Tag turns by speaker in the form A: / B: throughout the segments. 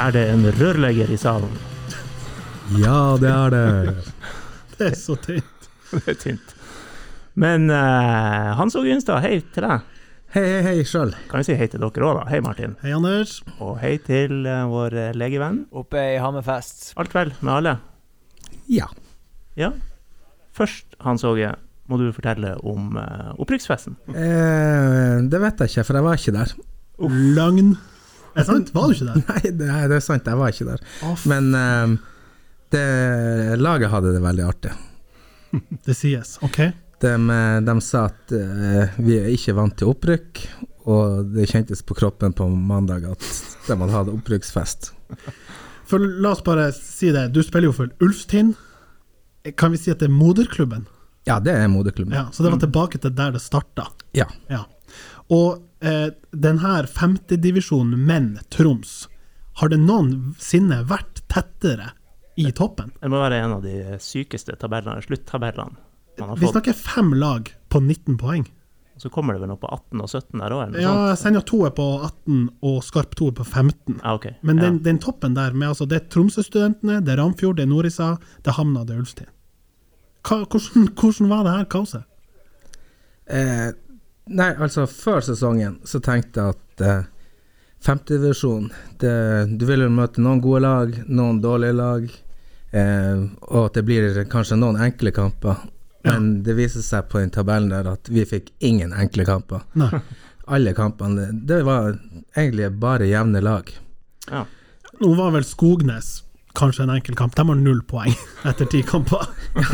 A: Er det en rørlegger i salen?
B: Ja, det er det.
C: Det er så tynt.
A: Det er tynt. Men eh, Hans og Gynstad, hei til deg.
B: Hei, hei, hei sjøl.
A: Kan jo si hei til dere òg, da. Hei, Martin.
C: Hei, Anders.
A: Og hei til eh, vår eh, legevenn.
D: Oppe i Hammerfest.
A: Alt vel med alle?
B: Ja.
A: Ja. Først, Hans Åge, må du fortelle om uh, opprykksfesten.
B: Eh, det vet jeg ikke, for jeg var ikke der.
C: Løgn. Er det sant? Var du ikke der?
B: Nei, det er, det er sant, jeg var ikke der. Men eh, det, laget hadde det veldig artig.
C: Det sies. OK.
B: De, eh, de sa at eh, vi er ikke vant til opprykk, og det kjentes på kroppen på mandag at de hadde hatt opprykksfest.
C: For la oss bare si det. Du spiller jo for Ulfstind. Kan vi si at det er moderklubben?
B: Ja, det er moderklubben.
C: Ja, så det var tilbake til der det starta.
B: Ja.
C: Ja. Og eh, den her femtedivisjonen menn Troms, har det noensinne vært tettere i toppen?
A: Det må være en av de sykeste tabellene, sluttabellene man har
C: Vi
A: fått.
C: snakker fem lag på 19 poeng.
A: Og så kommer det vel noe på 18 og 17 der òg, eller noe sånt?
C: Ja, Senja 2 er på 18, og Skarp 2 er på 15.
A: Ja, ok.
C: Men den,
A: ja.
C: den toppen der, med altså, det er Tromsø-studentene, det er Ramfjord, det er Nordisa, det er Hamna, det er Ulstein. Hva, hvordan, hvordan var det her kaoset?
B: Eh, nei, altså før sesongen så tenkte jeg at eh, femtedivisjon det- Du vil jo møte noen gode lag, noen dårlige lag, eh, og at det blir kanskje noen enkle kamper. Men det viser seg på den tabellen der at vi fikk ingen enkle kamper.
C: Nei.
B: Alle kampene Det var egentlig bare jevne lag.
A: Ja.
C: Nå var vel Skognes kanskje en enkel kamp. De har null poeng etter ti kamper.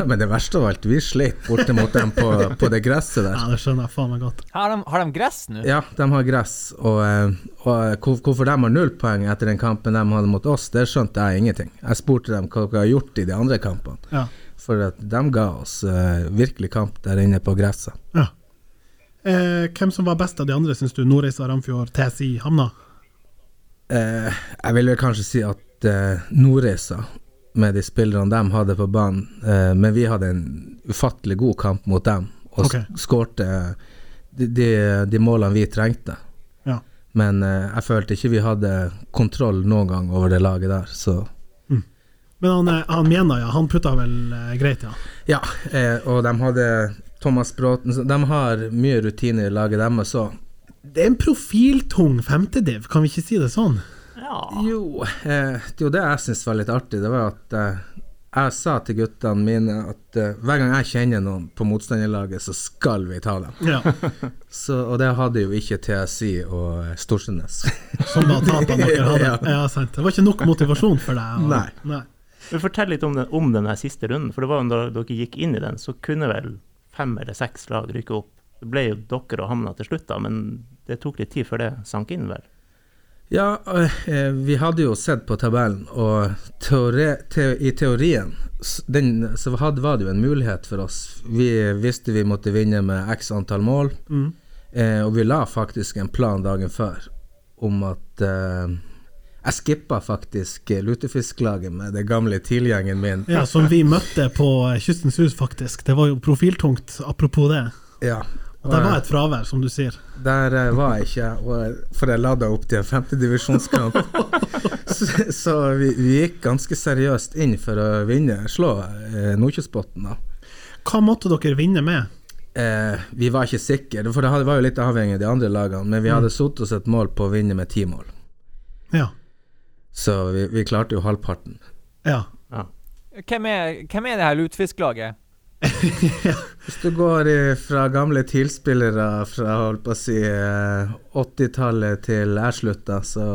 B: Men det verste av alt, vi slet borte mot dem på, på det gresset der.
C: Ja, det skjønner jeg faen meg godt.
D: Har de, har de gress nå?
B: Ja, de har gress, og, eh, og hvor- hvorfor de har null poeng etter den kampen de hadde mot oss, det skjønte jeg ingenting. Jeg spurte dem hva de har gjort i de andre kampene,
C: Ja.
B: for at de ga oss eh, virkelig kamp der inne på gresset.
C: ja. Eh, hvem som var best av de andre, syns du? Nordreisa, Ramfjord, TSI, Hamna?
B: Eh, jeg vil vel kanskje si at eh, Nordreisa, med de spillerne de hadde på banen, eh, men vi hadde en ufattelig god kamp mot dem, og
C: Ok.
B: sk- skårte eh, de, de, de målene vi trengte.
C: Ja.
B: Men eh, jeg følte ikke vi hadde kontroll noen gang over det laget der, så
C: Men han, eh, han mener, ja. Han putta vel eh, greit, ja.
B: Ja, eh, og de hadde Thomas Bråten så De har mye rutine i laget deres òg.
C: Det er en profiltung femtediv, kan vi ikke si det sånn?
A: ja.
B: Jo, eh, det er jo det jeg syns var litt artig, det var at eh, jeg sa til guttene mine at eh, hver gang jeg kjenner noen på motstanderlaget, så skal vi ta dem.
C: Ja.
B: Så, og det hadde jo ikke TSI og eh, Storsundnes.
C: Som var tapene dere hadde.
B: Ja.
C: Ja, sant. Det var ikke nok motivasjon for deg. og-
B: Nei.
C: Nei.
A: Men Fortell litt om den, om den her siste runden. For det var jo da dere gikk inn i den, så kunne vel fem eller seks lag rykke opp. Det ble jo dere og Hamna til slutt, da, men det tok litt tid før det sank inn, vel?
B: Ja, eh, vi hadde jo sett på tabellen, og teore, te, i teorien s- den, så hadde, var det jo en mulighet for oss. Vi visste vi måtte vinne med x antall mål, eh, og vi la faktisk en plan dagen før om at eh, Jeg skippa faktisk eh, lutefisklaget med den gamle tilgjengen min.
C: Ja, som vi møtte på eh, Kystens Hus, faktisk. Det var jo profiltungt, apropos det.
B: Ja.
C: Og det var et fravær, som du sier.
B: Der eh, var jeg ikke, og, for jeg lada opp til en femtedivisjonskamp. så så vi, vi gikk ganske seriøst inn for å vinne, slå eh, Nordkjosbotn, da.
C: Hva måtte dere vinne med?
B: Eh, vi var ikke sikre, for det hadde- var jo litt avhengig av de andre lagene, men vi hadde satt oss et mål på å vinne med ti mål.
C: Ja.
B: Så vi, vi klarte jo halvparten.
C: ja.
A: Ja.
D: Hvem er, hvem er det her lutefisklaget?
B: Hvis du går i, fra gamle TIL-spillere fra holdt på å si eh, 80-tallet til jeg slutta, så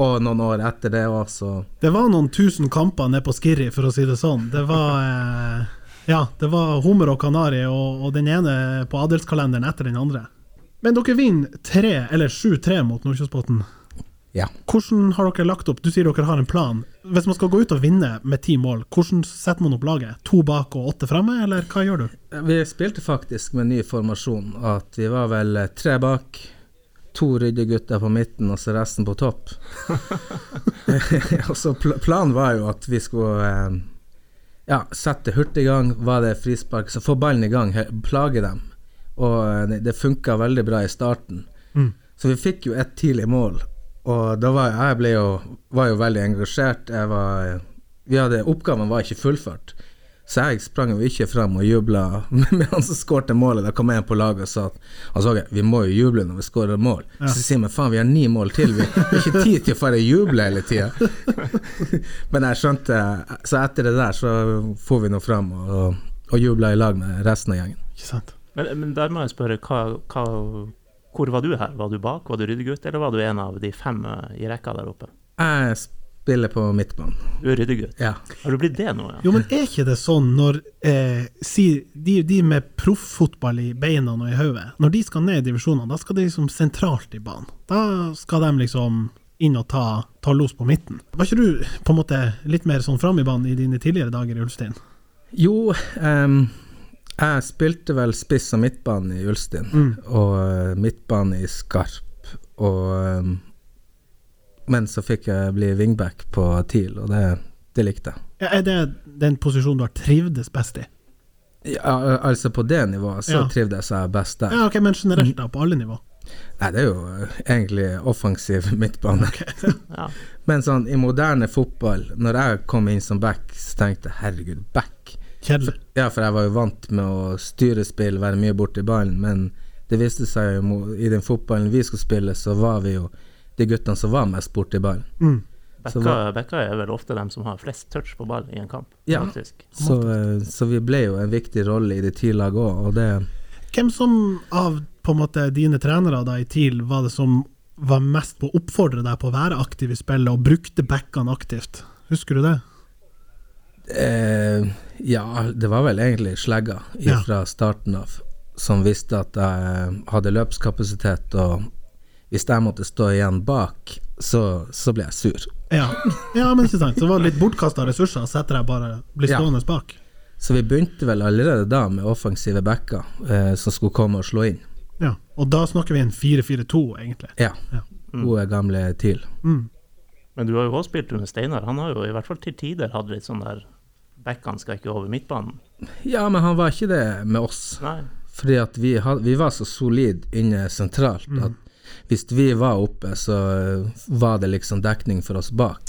B: Og noen år etter det òg, så
C: Det var noen tusen kamper nede på Skirri, for å si det sånn. Det var eh, Ja, det var hummer og kanari, og, og den ene på adelskalenderen etter den andre. Men dere vinner tre, eller sju-tre mot Nordkjosbotn.
B: Ja.
C: Hvordan har dere lagt opp? Du sier dere har en plan. Hvis man skal gå ut og vinne med ti mål, hvordan setter man opp laget? To bak og åtte framme, eller hva gjør du?
B: Vi spilte faktisk med ny formasjon. At vi var vel eh, tre bak, to ryddegutter på midten og så resten på topp. og så pl Planen var jo at vi skulle eh, ja, sette hurtig i gang. Var det frispark, så få ballen i gang, he- plage dem. Og eh, det- det funka veldig bra i starten. Så vi fikk jo ett tidlig mål, Og da var jeg, jeg ble jo, var jo veldig engasjert. Jeg var, eh, vi hadde, oppgaven var ikke fullført. Så jeg sprang jo ikke frem og jubla med han som skårte målet. Da kom jeg på laget og sa at han så, vi må jo juble når vi skårer mål. Så sier man faen, vi har ni mål til, vi har ikke tid til å bare juble hele tida. Men jeg skjønte Så etter det der så for vi nå frem og, og jubla i lag med resten av gjengen.
C: Ikke sant?
A: Men, men der må jeg spørre, hva, hva, hvor var du her? Var du bak, var du ryddegutt, eller var du en av de fem eh, i rekka der oppe?
B: Jeg spiller på midtbanen.
A: Du er ryddegutt.
B: Ja.
A: Har du blitt det nå, ja?
C: Jo, men er ikke det sånn når eh, si, de, de med profffotball i beina og i hodet, når de skal ned i divisjonene, da skal de liksom sentralt i banen. Da skal de liksom inn og ta, ta los på midten. Var ikke du på en måte litt mer sånn fram i banen i dine tidligere dager i Ulstein?
B: Jo, ehm, jeg spilte vel spiss og midtbane i Ulstein,
C: Mm.
B: og eh, midtbane i Skarp. Og, ehm, men så fikk jeg bli wingback på TIL, og det, det likte jeg.
C: Ja, er det den posisjonen du har trivdes best i?
B: Ja, al- altså på det nivået så
C: Ja.
B: trivdes jeg best der.
C: Ja, ok, Men generelt, da, på alle nivå?
B: Nei, det er jo eh, egentlig offensiv midtbane.
A: ja.
B: Men sånn i moderne fotball, når jeg kom inn som back, så tenkte jeg herregud, back?
C: Kjedelig.
B: Ja, for jeg var jo vant med å styre spill, være mye borti ballen, men det viste seg jo mo- i den fotballen vi skulle spille, så var vi jo de guttene som var mest borti ballen.
C: Mm.
B: Så
A: Bekka, bekka er vel ofte dem som har flest touch på ball i en kamp,
B: Ja.
A: faktisk.
B: Så, eh, så vi ble jo en viktig rolle i de ti lag òg, og det
C: Hvem som av på en måte dine trenere da i TIL var det som var mest på å oppfordre deg på å være aktiv i spillet, og brukte backene aktivt? Husker du det?
B: eh, Ja, det var vel egentlig slegga
C: Ja.
B: fra starten av som visste at jeg hadde løpskapasitet, og hvis jeg måtte stå igjen bak, så, så ble jeg sur.
C: Ja, ja men ikke sant. Så det var litt bortkasta ressurser. Setter jeg bare blir
B: Ja.
C: stående bak.
B: Så vi begynte vel allerede da med offensive backer eh, som skulle komme og slå inn.
C: Ja. Og da snakker vi en 4-4-2, egentlig.
B: Ja.
C: Ja.
B: Gode, gamle TIL.
C: Mm.
A: Men du har jo også spilt under Steinar. Han har jo i hvert fall til tider hatt litt sånn der Bekkene skal ikke over midtbanen.
B: Ja, men han var ikke det med oss.
A: Nei.
B: Fordi at vi, had, vi var så solid inne sentralt
C: Mm.
B: at hvis vi var oppe, så eh, var det liksom dekning for oss bak.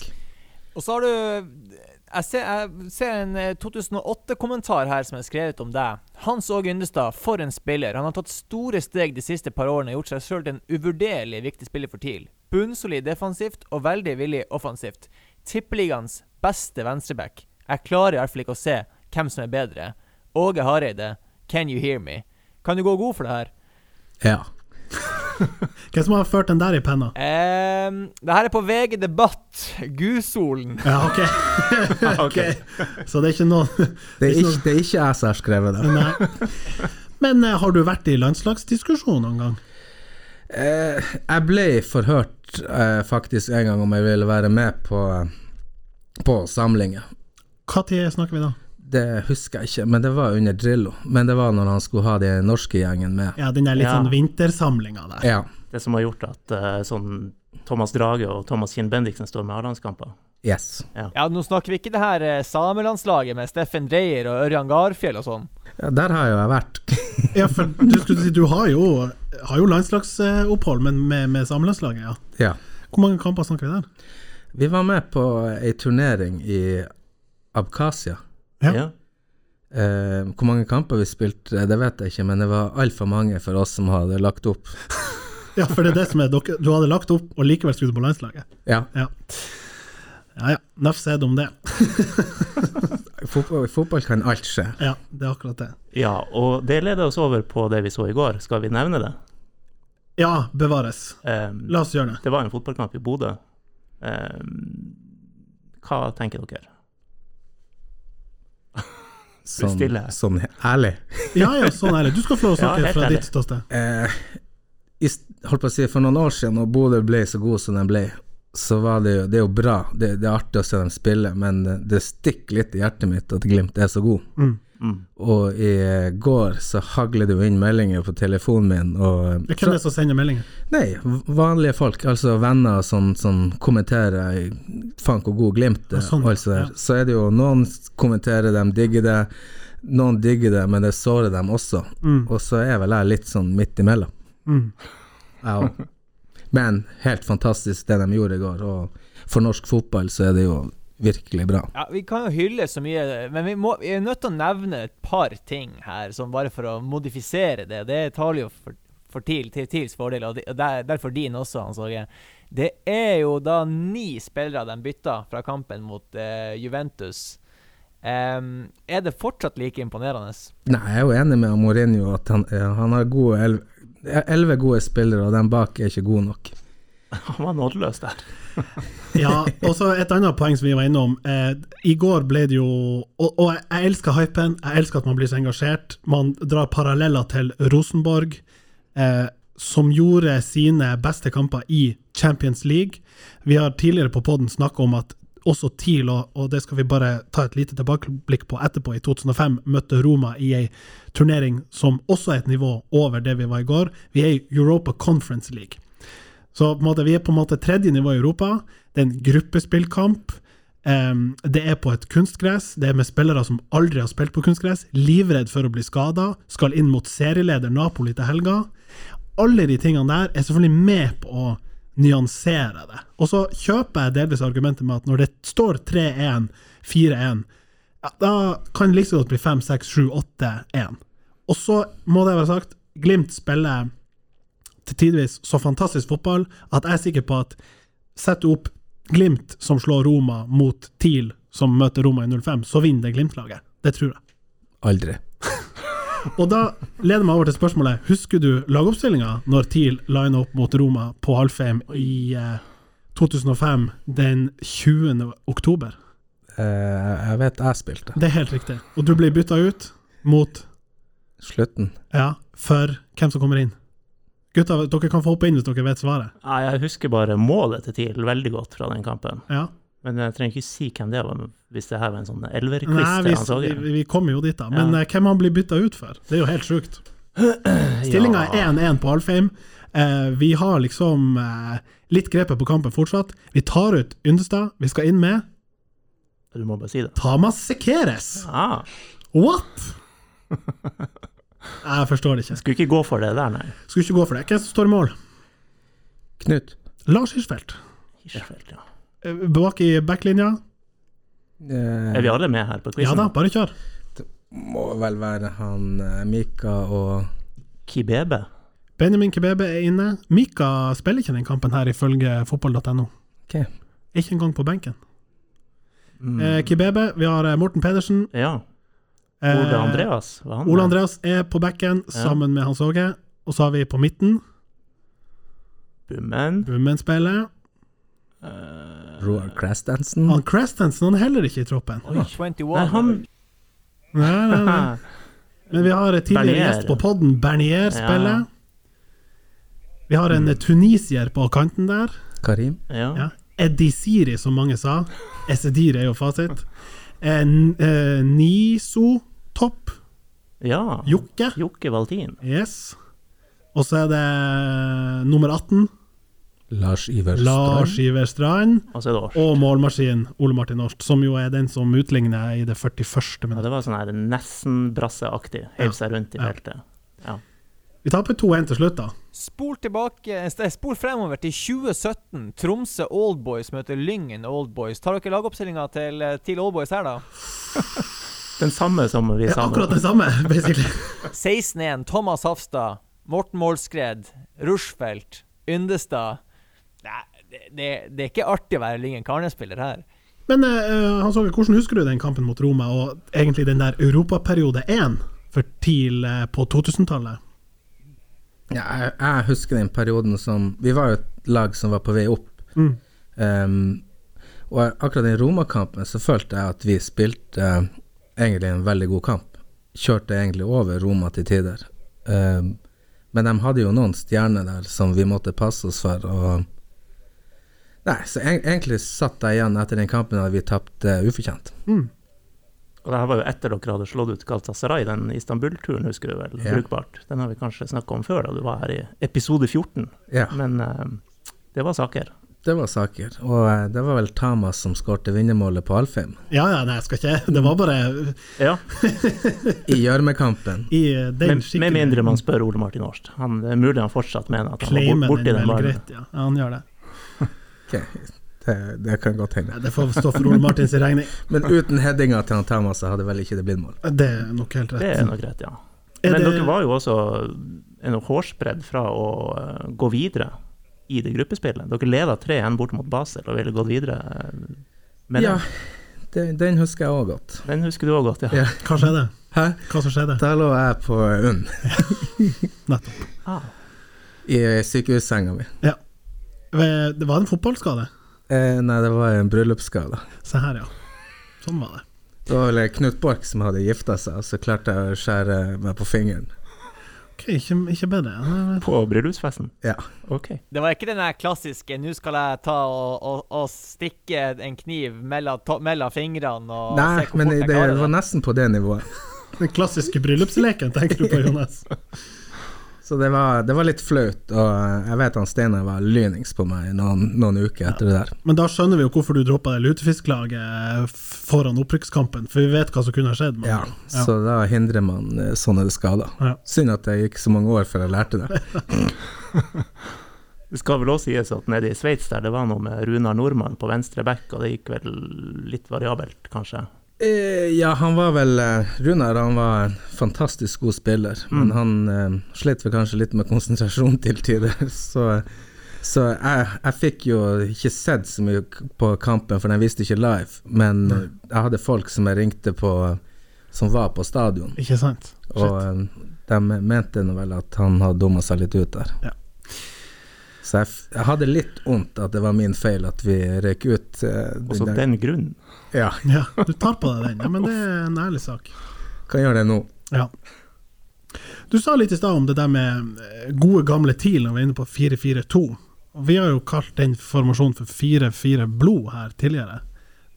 D: Og så har du Jeg ser, jeg ser en eh, 2008-kommentar her som er skrevet om deg. Hans Åge Yndestad, for en spiller. Han har tatt store steg de siste par årene og gjort seg sjøl til en uvurderlig viktig spiller for TIL. Bunnsolid defensivt og veldig villig offensivt. Tippeligaens beste venstreback. Jeg klarer i hvert fall ikke å se hvem som er bedre. Åge Hareide, can you hear me? Kan du gå god for det her?
B: Ja.
C: Hvem som har ført den der i penna?
D: Um, det her er på VG Debatt. Gusolen.
C: Ja, ok. Så det er ikke noen
B: Det er ikke, det er ikke jeg som har skrevet det.
C: Nei. Men eh, har du vært i landslagsdiskusjon noen gang?
B: Eh, jeg ble forhørt eh, faktisk en gang om jeg ville være med på, på samlinger.
C: Når snakker vi da?
B: Det husker jeg ikke, men det var under Drillo. Men det var når han skulle ha den norske gjengen med.
C: Ja, den der litt
A: Ja.
C: sånn vintersamlinga der.
B: Ja.
A: Det som har gjort at eh, sånn Thomas Drage og Thomas Kinn Bendiksen står med A-landskamper.
B: Yes.
D: Ja, nå snakker vi ikke det her eh, samelandslaget med Steffen Dreyer og Ørjan Garfjell og sånn.
B: Ja, der har jo jeg vært.
C: Ja, for du skulle si du har jo, har jo landslagsopphold, men med, med samlandslaget, ja.
B: ja.
C: Hvor mange kamper snakker vi der?
B: Vi var med på ei turnering i Abkhasia.
C: Ja.
B: Eh, hvor mange kamper vi spilte, det vet jeg ikke, men det var altfor mange for oss som hadde lagt opp.
C: Ja, for det er det som er dere, du hadde lagt opp, og likevel skulle du på landslaget.
B: Ja.
C: Ja. Ja ja, Naff sed om det.
B: I fotball, i fotball kan alt skje.
C: Ja, det er akkurat det.
A: ja, og det leder oss over på det vi så i går. Skal vi nevne det?
C: Ja, bevares.
A: Ehm,
C: La oss gjøre det.
A: det var en fotballkamp i Bodø. Ehm, hva tenker dere?
B: Sånn,
A: Stille.
B: sånn ærlig.
C: Ja ja, sånn er det. Du skal få lov å
A: Ja,
C: snakke
A: helt
C: fra
A: ærlig.
C: ditt ståsted.
B: Eh, i, s- holdt på å si, for noen år siden, når Bodø ble så god som den ble, så var det jo Det er jo bra, det, det er artig å se dem spille, men det- det stikker litt i hjertet mitt at Glimt er så god.
A: Mm.
B: Og i går så haglet det jo inn meldinger på telefonen min, og
C: Hvem er det som sender meldinger?
B: Nei, v- vanlige folk, altså venner og sånn, som kommenterer Faen, hvor god Glimt er,
C: sånn,
B: og alt det der.
C: ja.
B: Så er det jo noen s- kommenterer dem, digger det. Noen digger det, men det sårer
C: Mm.
B: dem også. Og så er vel jeg litt sånn midt imellom.
C: Mm.
B: Jeg òg. Men helt fantastisk det de gjorde i går, og for norsk fotball så er det jo virkelig bra.
D: Ja, Vi kan jo hylle så mye, men vi, må, vi er nødt til å nevne et par ting her, som bare for å modifisere det. Det taler jo for, for TIL til TILs fordel, og de- og der, derfor din også, Hans Åge. Det er jo da ni spillere de bytta fra kampen mot eh, Juventus. Em, er det fortsatt like imponerende?
B: Nei, jeg er jo enig med Mourinho at han, eh, han har gode elv- elleve gode spillere, og den bak er ikke god nok.
A: Han var nådeløs der.
C: Ja, og så et annet poeng som vi var innom. Eh, I går ble det jo Og, og jeg- jeg elsker hypen, jeg elsker at man blir så engasjert. Man drar paralleller til Rosenborg, eh, som gjorde sine beste kamper i Champions League. Vi har tidligere på poden snakka om at også TIL, og, og det skal vi bare ta et lite tilbakeblikk på etterpå, i 2005 møtte Roma i ei turnering som også er et nivå over det vi var i går. Vi er i Europa Conference League. Så på en måte, vi er på en måte tredje nivå i Europa. Det er en gruppespillkamp. Ehm, det er på et kunstgress. Det er med spillere som aldri har spilt på kunstgress. Livredd for å bli skada. Skal inn mot serieleder Napoli til helga. Alle de tingene der er selvfølgelig med på å nyansere det. Og så kjøper jeg delvis argumentet med at når det står 3-1, 4-1, ja, da kan det like så godt bli 5, 6, 7, 8, 1. Og så må det være sagt, Glimt spiller til tidvis så fantastisk fotball at jeg er sikker på at setter du opp Glimt som slår Roma mot TIL som møter Roma i 05, så vinner det Glimt-laget. Det tror jeg.
B: Aldri.
C: Og da leder meg over til spørsmålet Husker du lagoppstillinga når TIL lina opp mot Roma på Alfheim i eh, 2005 den 20. oktober?
B: Eh, jeg vet jeg spilte.
C: Det er helt riktig. Og du blir bytta ut mot
B: Slutten.
C: Ja, for hvem som kommer inn. Gutta, dere kan få hoppe inn hvis dere vet svaret.
A: Nei, Jeg husker bare målet til TIL veldig godt fra den kampen.
C: Ja.
A: Men jeg trenger ikke si hvem det var, men hvis det her var en sånn elverquiz
C: Nei,
A: til
C: vi,
A: Hans Åge.
C: vi, vi kommer jo dit, da. Men
A: Ja.
C: eh, hvem han blir bytta ut for? Det er jo helt sjukt. Stillinga
A: Ja.
C: er 1-1 på Alfheim. Eh, vi har liksom eh, litt grepet på kampen fortsatt. Vi tar ut Yndestad. Vi skal inn med
A: Du må bare si det.
C: Tamas Sekeres.
A: Ah,
C: What?! Jeg forstår det ikke.
A: skulle ikke gå for det der, nei.
C: Skulle ikke gå for det. Hvem som står i mål?
B: Knut?
C: Lars Hirschfeldt.
A: Hirschfeldt, ja.
C: Eh, Bak i backlinja.
B: Eh,
A: Er vi alle med her på
C: Ja
A: quizen?
C: da, bare kjør.
B: Må vel være han eh, Mika og
A: Kibebe.
C: Benjamin Kebebe er inne. Mika spiller ikke den kampen her, ifølge fotball.no.
B: Ok.
C: Ikke engang på benken. Eh, Kibebe, vi har eh, Morten Pedersen.
A: Ja.
C: Eh,
A: Ole Andreas, var han
C: Ole
A: med?
C: Andreas er på bekken sammen med Hans Åge. Og så har vi på midten
A: Bummen.
C: Brummen-spillet.
B: Roar Crastansen.
C: Han Crestensen han er heller ikke i troppen.
D: Oi, 21.
A: Nei, han
C: Nei, nei, nei.
A: ah,
C: Men vi har eh, tidligere
A: Bernier.
C: gjest på podden, Bernier-spillet. Vi har en eh, tunisier på kanten der.
B: Karim.
A: Ja.
C: Ja. Edisiri, som mange sa. Esediri er jo fasit. Eh, n- eh, Niso Topp.
A: ja.
C: Jokke.
A: Jokke Valtin.
C: Yes. Og så er det nummer 18,
B: Lars Iver
C: Lars
B: Strøm.
C: Iver Strand.
A: Og så er det Års.
C: Og målmaskin Ole Martin Årst, som jo er den som utligner i det 41.
A: Ja,
C: minutt.
A: det var sånn her nesten-brasseaktig. Heiv seg rundt i
C: Ja.
A: feltet.
C: Vi taper 2-1 til slutt, da.
D: Spol, tilbake, nei, spol fremover til 2017. Tromsø Oldboys møter Lyngen Oldboys. Tar dere lagoppstillinga til eh, TIL Oldboys her, da?
A: Den samme som vi
C: Ja,
A: sa nå.
C: akkurat det samme, basically.
D: 16-1, Thomas Hafstad, Morten Målskred, Rushfeldt, Yndestad. Nei, det, det, det er ikke artig å være Lyngen Karnes-spiller her.
C: Men eh, Hans Åge, hvordan husker du den kampen mot Roma, og egentlig den der europaperiode 1 for TIL eh, på 2000-tallet?
B: Ja, jeg, jeg husker den perioden som Vi var jo et lag som var på vei opp.
C: Mm.
B: Ehm, og jeg- akkurat i Roma-kampen så følte jeg at vi spilte eh, egentlig en veldig god kamp. Kjørte egentlig over Roma til tider. Ehm, men de hadde jo noen stjerner der som vi måtte passe oss for. Og Nei, så eng- egentlig satt jeg igjen etter den kampen at vi tapte ufortjent.
A: Og det her var jo etter dere hadde slått ut Galatasaray, den Istanbul-turen husker du vel,
B: Ja.
A: brukbart. Den har vi kanskje snakka om før, da du var her i episode 14.
B: Ja.
A: Men eh, det var saker.
B: Det var saker. Og eh, det var vel Tamas som skårte vinnermålet på Alfheim
C: Ja, ja, nei, jeg skal ikke Det var bare
A: Ja,
B: i gjørmekampen.
C: i eh, den
A: med,
C: skikkelig
A: med mindre man spør Ole Martin Årst. Han, det er mulig han fortsatt mener at han var
C: Claimen
A: bort- borti
C: er
A: den
C: vel
A: ballen.
C: greit, ja. ja. Han gjør det.
B: Ok, det, det kan godt
C: Nei,
B: hende.
C: Det får stå for Ole Martins regning.
B: Men uten headinga til han Tamas så hadde vel ikke det blitt mål.
C: Det er nok helt
A: Det
C: rett.
A: er nok greit, ja.
C: Er
A: Men
C: det-
A: dere var jo også en hårsbredd fra å eh, gå videre i det gruppespillet. Dere leda 3-1 bort mot Basel og ville gått videre. eh, Med
B: ja,
A: den.
B: det, den husker jeg òg godt.
A: den husker du òg godt, ja.
B: Ja.
C: Hva skjedde?
B: Hæ?
C: Hva som skjedde?
B: Da lå jeg på UNN
C: Nettopp.
A: Ah,
B: i sykehussenga mi.
C: Ve- Eh, Det var en fotballskade.
B: Eh, nei, det var en bryllupsskade.
C: Se her, ja. Sånn var det.
B: Det var vel Knut Borch som hadde gifta seg, og så klarte jeg å skjære meg på fingeren.
C: Ok, ikke, ikke bedre. Nei, nei.
A: på bryllupsfesten?
B: Ja.
A: Ok.
D: Det var ikke den der klassiske 'nå skal jeg ta og, og, og stikke en kniv mellom, to, mellom fingrene' og
B: Nei,
D: se hvor
B: men
D: fort
B: det,
D: jeg
B: det
D: klarer
B: var
D: det.
B: nesten på det nivået.
C: Den klassiske bryllupsleken tenker du på, Jonas.
B: Så det var, det var litt flaut, og jeg vet han Steinar var lynings på meg i noen, noen uker etter det der.
C: Men da skjønner vi jo hvorfor du droppa det lutefisklaget eh, foran opprykkskampen, for vi vet hva som kunne ha skjedd.
B: Ja,
C: Men.
B: så da hindrer man eh, sånne skader.
C: Ja.
B: Synd at det gikk så mange år før jeg lærte det.
A: Det skal vel også sies at nede i Sveits der det var noe med Runar Nordmann på venstre back, og det gikk vel litt variabelt, kanskje.
B: Eh, Ja, han var vel eh, Runar han var en fantastisk god spiller, men
A: Mm.
B: han eh, slet vel kanskje litt med konsentrasjon til tider. Så, så jeg, jeg fikk jo ikke sett så mye k- på kampen, for den viste ikke live. Men eh, jeg hadde folk som jeg ringte på, som var på stadion,
C: Ikke sant? Shit.
B: og eh, de mente nå vel at han hadde dumma seg litt ut der.
C: Ja.
B: Så jeg, f jeg hadde litt vondt at det var min feil at vi røyk ut. eh, den
A: Også
B: der-
A: den grunnen.
B: Ja,
C: Ja, du tar på deg den. Ja, men det er en ærlig sak.
B: kan gjøre det nå.
C: Ja. Du sa litt i stad om det der med eh, gode, gamle TIL når vi er inne på 4-4-2. Og Vi har jo kalt den formasjonen for 4-4 blod her tidligere.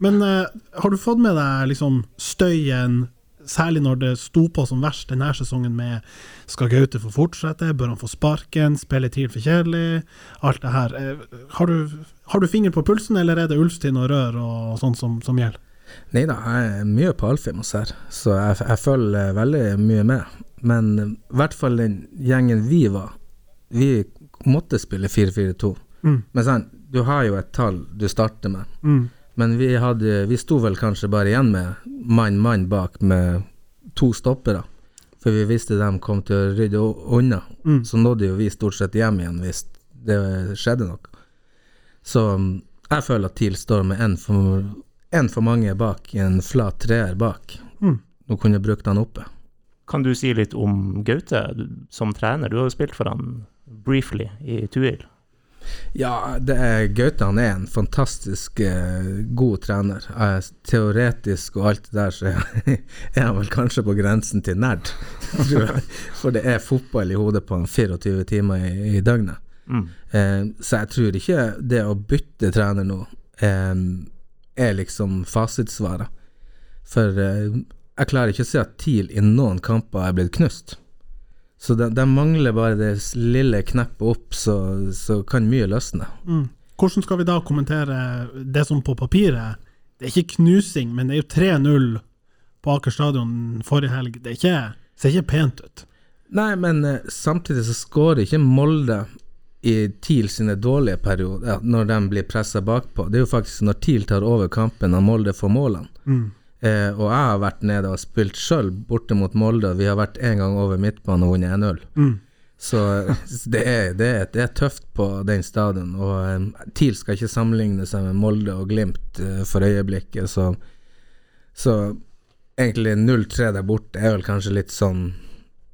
C: Men eh, har du fått med deg liksom støyen, særlig når det sto på som verst denne sesongen med skal Gaute få fortsette, bør han få sparken, spiller TIL for kjedelig, alt det her. Eh, har, du, har du finger på pulsen, eller er det Ulfstind og rør og sånt som, som gjelder?
B: Nei da, jeg er mye på Alfheim hos her, så jeg, jeg følger eh, veldig mye med. Men eh, i hvert fall den gjengen vi var, vi måtte spille 4-4-2.
C: Mm.
B: Men sant, du har jo et tall du starter med,
C: Mm.
B: men vi, hadde, vi sto vel kanskje bare igjen med mann-mann bak med to stoppere. For vi visste de kom til å rydde o- unna.
C: Mm.
B: Så nådde jo vi stort sett hjem igjen hvis det skjedde noe. Så mm, jeg føler at TIL står med én for, en for mange bak, en flat treer bak.
C: Mm.
B: Nå kunne jeg brukt han oppe.
A: Kan du si litt om Gaute du- som trener? Du har jo spilt for han briefly i Tuil.
B: Ja, det er, Gaute han er en fantastisk eh, god trener. Eh, teoretisk og alt det der, så er han vel kanskje på grensen til nerd. tror jeg. For det er fotball i hodet på han 24 timer i, i døgnet.
A: Mm.
B: Eh, så jeg tror ikke det å bytte trener nå eh, er liksom fasitsvaret. For eh, jeg klarer ikke å se at TIL i noen kamper er blitt knust. Så de, de mangler bare det s- lille kneppet opp, så, så kan mye løsne.
C: Mm. Hvordan skal vi da kommentere det som på papiret Det er ikke knusing, men det er jo 3-0 på Aker stadion forrige helg. Det er ikke, ser ikke pent ut.
B: Nei, men eh, samtidig så skårer ikke Molde i TIL sine dårlige perioder, ja, når de blir pressa bakpå. Det er jo faktisk når TIL tar over kampen og Molde får målene.
C: Mm.
B: Eh, og jeg har vært nede og spilt sjøl borte mot Molde, og vi har vært én gang over midtbanen og vunnet 1-0.
C: Mm.
B: Så eh, det er, det, er, det er tøft på den stadion. Og eh, TIL skal ikke sammenligne seg med Molde og Glimt eh, for øyeblikket, så, så egentlig 0-3 der borte er vel kanskje litt sånn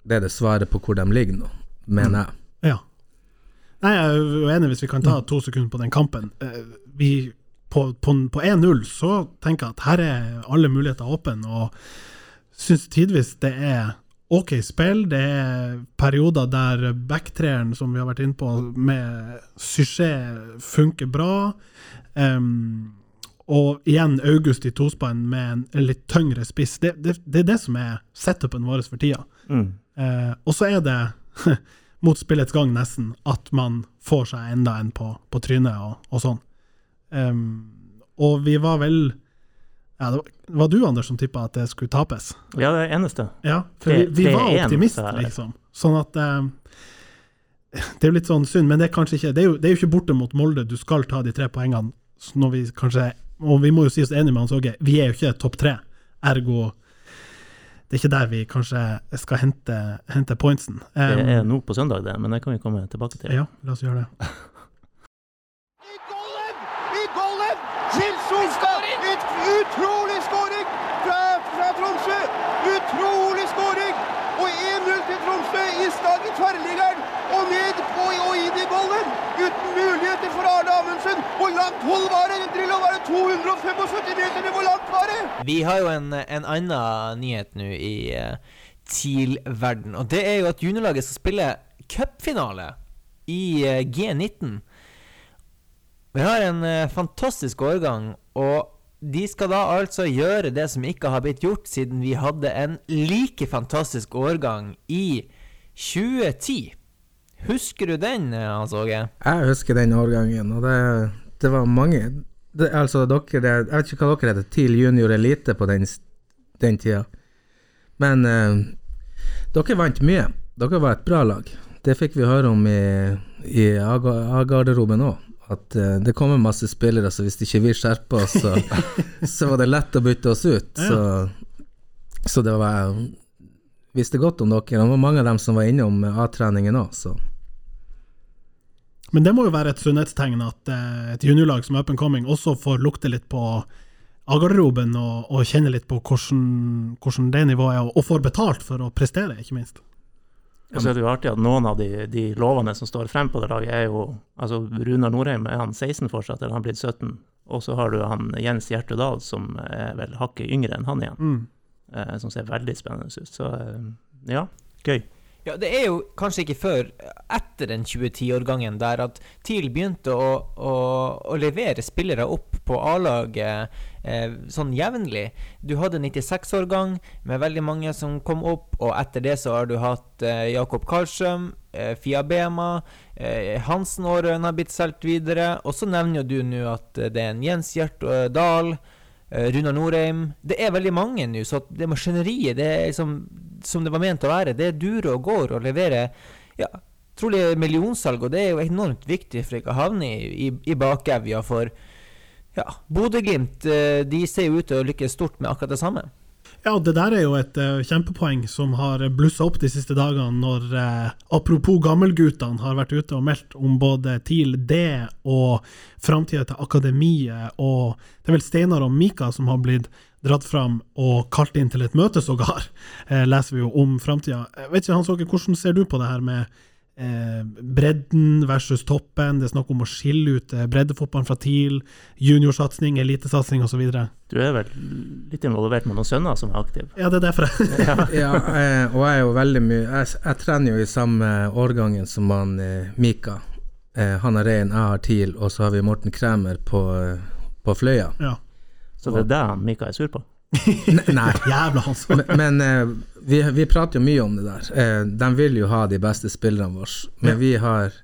B: Det er det svaret på hvor de ligger nå, mener jeg.
C: Ja. Nei, jeg er uenig hvis vi kan ta to sekunder på den kampen. Eh, Vi, på på, på 1-0 så tenker jeg at her er alle muligheter åpne, og syns tidvis det er OK spill. Det er perioder der backtreeren, som vi har vært inne på, med Syché funker bra. Em, og igjen August i tospann med en litt tyngre spiss. Det, det, det er det som er setupen vår for tida.
A: Mm.
C: Eh, og så er det mot spillets gang, nesten, at man får seg enda en på, på trynet og, og sånn. Ehm, og vi var vel ja, det var, det var du, Anders, som tippa at det skulle tapes?
A: Ja, det er det eneste.
C: Ja, for
A: Tre-
C: vi, vi var
A: 3-1,
C: optimister,
A: sa jeg.
C: liksom. Sånn at eh, Det er jo litt sånn synd, men det er kanskje ikke Det er jo, det er jo ikke borte mot Molde du skal ta de tre poengene, så når vi kanskje Og vi må jo si oss enige med Hans Åge, vi er jo ikke topp tre, ergo det er ikke der vi kanskje skal hente, hente pointsen.
A: Det
C: Eh,
A: er nå på søndag, det, men det kan vi komme tilbake til.
C: ja, la oss gjøre det.
E: I golden! I golden! Til Solstad! Et utrolig skåring fra, fra Tromsø! Utrolig skåring! Og 1-0 til Tromsø i stang i tverrliggeren og ned på, og inn i golden! Uten muligheter for Arne Amundsen! Hvor langt hold var det? Drillo var det 275 meter, men hvor langt var det?
D: Vi har jo en, en annen nyhet nå i eh, TIL-verden, og det er jo at juniorlaget skal spille cupfinale i eh, G19. Vi har en eh, fantastisk årgang, og de skal da altså gjøre det som ikke har blitt gjort siden vi hadde en like fantastisk årgang i 2010. Husker du den, eh, Hans Åge?
B: Jeg husker den årgangen, og det, det var mange det, Altså, dere det, Jeg vet ikke hva dere heter, TIL junior elite på den, s- den tida. Men eh, dere vant mye. Dere var et bra lag. Det fikk vi høre om i, i A-ga- A-garderoben òg. At eh, det kommer masse spillere, så hvis ikke vi skjerper oss, så, så var det lett å bytte oss ut. Så, så det var Jeg visste godt om dere. Det var mange av dem som var innom A-treningen òg, så
C: Men det må jo være et sunnhetstegn at eh, et juniorlag som er up and coming også får lukte litt på A-garderoben og, og kjenne litt på hvordan, hvordan det nivået er, og- og får betalt for å prestere, ikke minst.
A: Og så er det jo artig at noen av de, de lovene som står frem på det laget, er jo altså Runar Norheim er han 16 fortsatt, eller han er blitt 17. Og så har du han Jens Hjertedal, som er vel hakket yngre enn han igjen,
C: Mm.
A: eh, som ser veldig spennende ut. Så eh, ja, gøy.
D: Ja, det er jo kanskje ikke før etter den 2010-årgangen der at TIL begynte å, å, å levere spillere opp på A-laget eh, sånn jevnlig. Du hadde 96-årgang med veldig mange som kom opp, og etter det så har du hatt eh, Jakob Karlstrøm, eh, Fia Bema, eh, Hansen Aarøen har blitt solgt videre, og så nevner jo du nå at eh, det er en Jens Gjert eh, Dahl. eh, Runar Norheim Det er veldig mange nå, så at det maskineriet det er liksom som det var ment å være. Det durer og går og leverer ja, trolig millionsalg, og det er jo enormt viktig for ikke å havne i, i, i bakevja for ja, Bodø-Glimt eh, de ser jo ut til å lykkes stort med akkurat det samme.
C: Ja, og det der er jo et eh, kjempepoeng som har blussa opp de siste dagene, når eh, apropos gammelguttene har vært ute og meldt om både TIL D og framtida til akademiet, og det er vel Steinar og Mika som har blitt dratt fram og kalt inn til et møte sågar, eh, leser vi jo om framtida. Eh, Vet ikke, Hans Åke, hvordan ser du på det her med eh, bredden versus toppen, det er snakk om å skille ut eh, breddefotballen fra TIL, juniorsatsing, elitesatsing osv. Ja,
A: Du er vel litt involvert med noen sønner som er aktive?
C: det er derfor jeg
B: ja, eh, og jeg er jo veldig mye jeg, jeg trener jo i samme årgangen som han eh, Mika. Eh, han har rein, jeg har TIL, og så har vi Morten Kremer på, eh, på Fløya.
C: ja.
A: Så det er det han Mika er sur på?
B: N nei.
C: Jævla Hans Åge.
B: Men, men eh, vi, vi prater jo mye om det der. Eh, de vil jo ha de beste spillerne våre, men vi har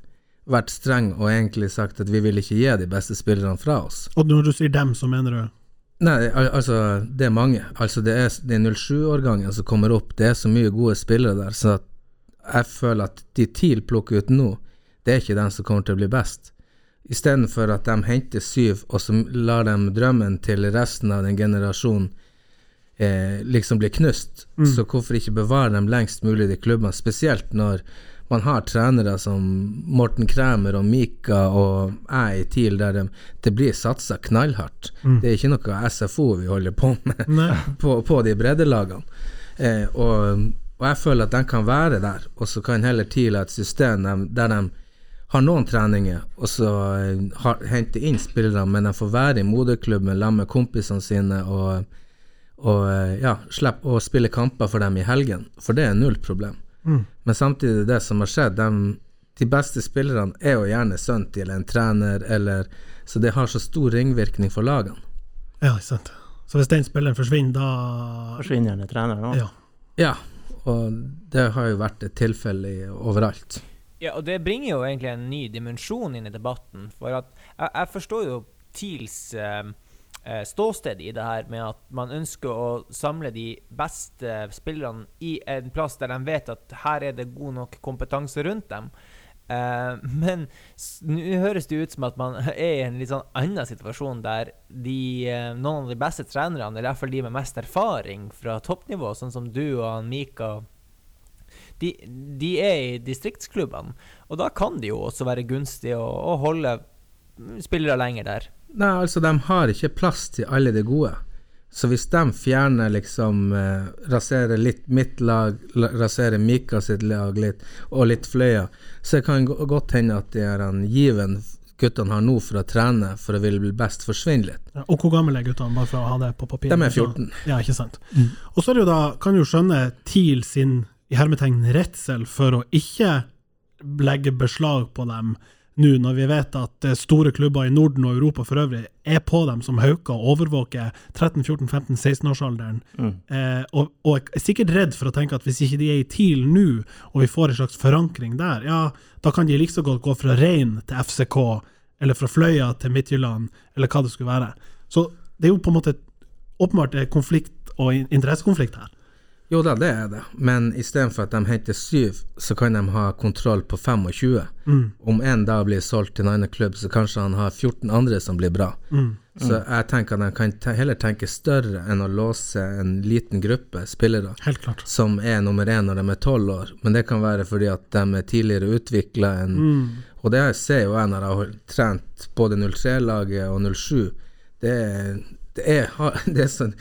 B: vært strenge og egentlig sagt at vi vil ikke gi de beste spillerne fra oss.
C: Og når du sier dem, så mener du
B: Nei, al altså, det er mange. Altså, det er, det er 07-årgangen som kommer opp. Det er så mye gode spillere der, så at jeg føler at de TIL plukker ut nå, det er ikke dem som kommer til å bli best. Istedenfor at de henter syv, og så lar de drømmen til resten av den generasjonen eh, liksom bli knust. Så hvorfor ikke bevare dem lengst mulig i de klubbene, spesielt når man har trenere som Morten Kræmer og Mika og jeg i TIL, der de, det blir satsa knallhardt. Det er ikke noe SFO vi holder på med
C: Nei.
B: på, på de breddelagene. Eh, og, og jeg føler at de kan være der, og så kan heller TIL ha et system dem- der de har noen treninger, og så eh, har, henter inn spillere, men de får være i moderklubben sammen med kompisene sine og, og eh, ja, slipper å spille kamper for dem i helgen, for det er null problem. Men samtidig, det som har skjedd dem- De beste spillerne er jo gjerne sønnen til en trener, eller Så det har så stor ringvirkning for lagene.
C: Ja, ikke sant. Så hvis den spilleren forsvinner, da
A: Forsvinner gjerne treneren òg.
C: Ja.
B: Ja, og det har jo vært et tilfelle i- overalt.
D: Ja, og det bringer jo egentlig en ny dimensjon inn i debatten. For at jeg, jeg forstår jo TILs eh, eh, ståsted i det her med at man ønsker å samle de beste spillerne i en plass der de vet at her er det god nok kompetanse rundt dem. Eh, men s- nå høres det ut som at man er i en litt sånn annen situasjon der de, eh, noen av de beste trenerne, eller i hvert fall de med mest erfaring fra toppnivå, sånn som du og han Mika de, de er i distriktsklubbene, og da kan det jo også være gunstig å, å holde spillere lenger der.
B: Nei, altså, de har ikke plass til alle de gode. Så hvis de fjerner liksom eh, Raserer litt mitt lag, la- raserer Mika sitt lag litt, og litt Fløya, så kan det gå- godt hende at de her, han, given guttene har nå for å trene for å ville bli best, forsvinner litt.
C: Ja, Og hvor gamle er guttene, bare for å ha det på papir?
B: De er 14.
C: Ja, ikke sant. Og så er det jo da, kan jo skjønne TIL sin i hermetegn redsel for å ikke legge beslag på dem nå, når vi vet at eh, store klubber i Norden og Europa for øvrig er på dem som hauker og overvåker 13-14-15-16-årsalderen, eh, og, og er sikkert redd for å tenke at hvis ikke de er i TIL nå, og vi får en slags forankring der, ja, da kan de like så godt gå fra Rein til FCK, eller fra Fløya til Midtjylland, eller hva det skulle være. Så det er jo på en måte åpenbart eh, konflikt og in- interessekonflikt her.
B: Jo da, det er det, men istedenfor at de henter syv, så kan de ha kontroll på 25. Om en da blir solgt til en annen klubb, så kanskje han har 14 andre som blir bra. Så jeg tenker at de kan te heller tenke større enn å låse en liten gruppe spillere
C: Helt klart.
B: som er nummer én når de er tolv år, men det kan være fordi at de er tidligere utvikla enn Og det ser jo jeg når jeg har trent både 03-laget og 07. Det, er- det er, har- det er sånn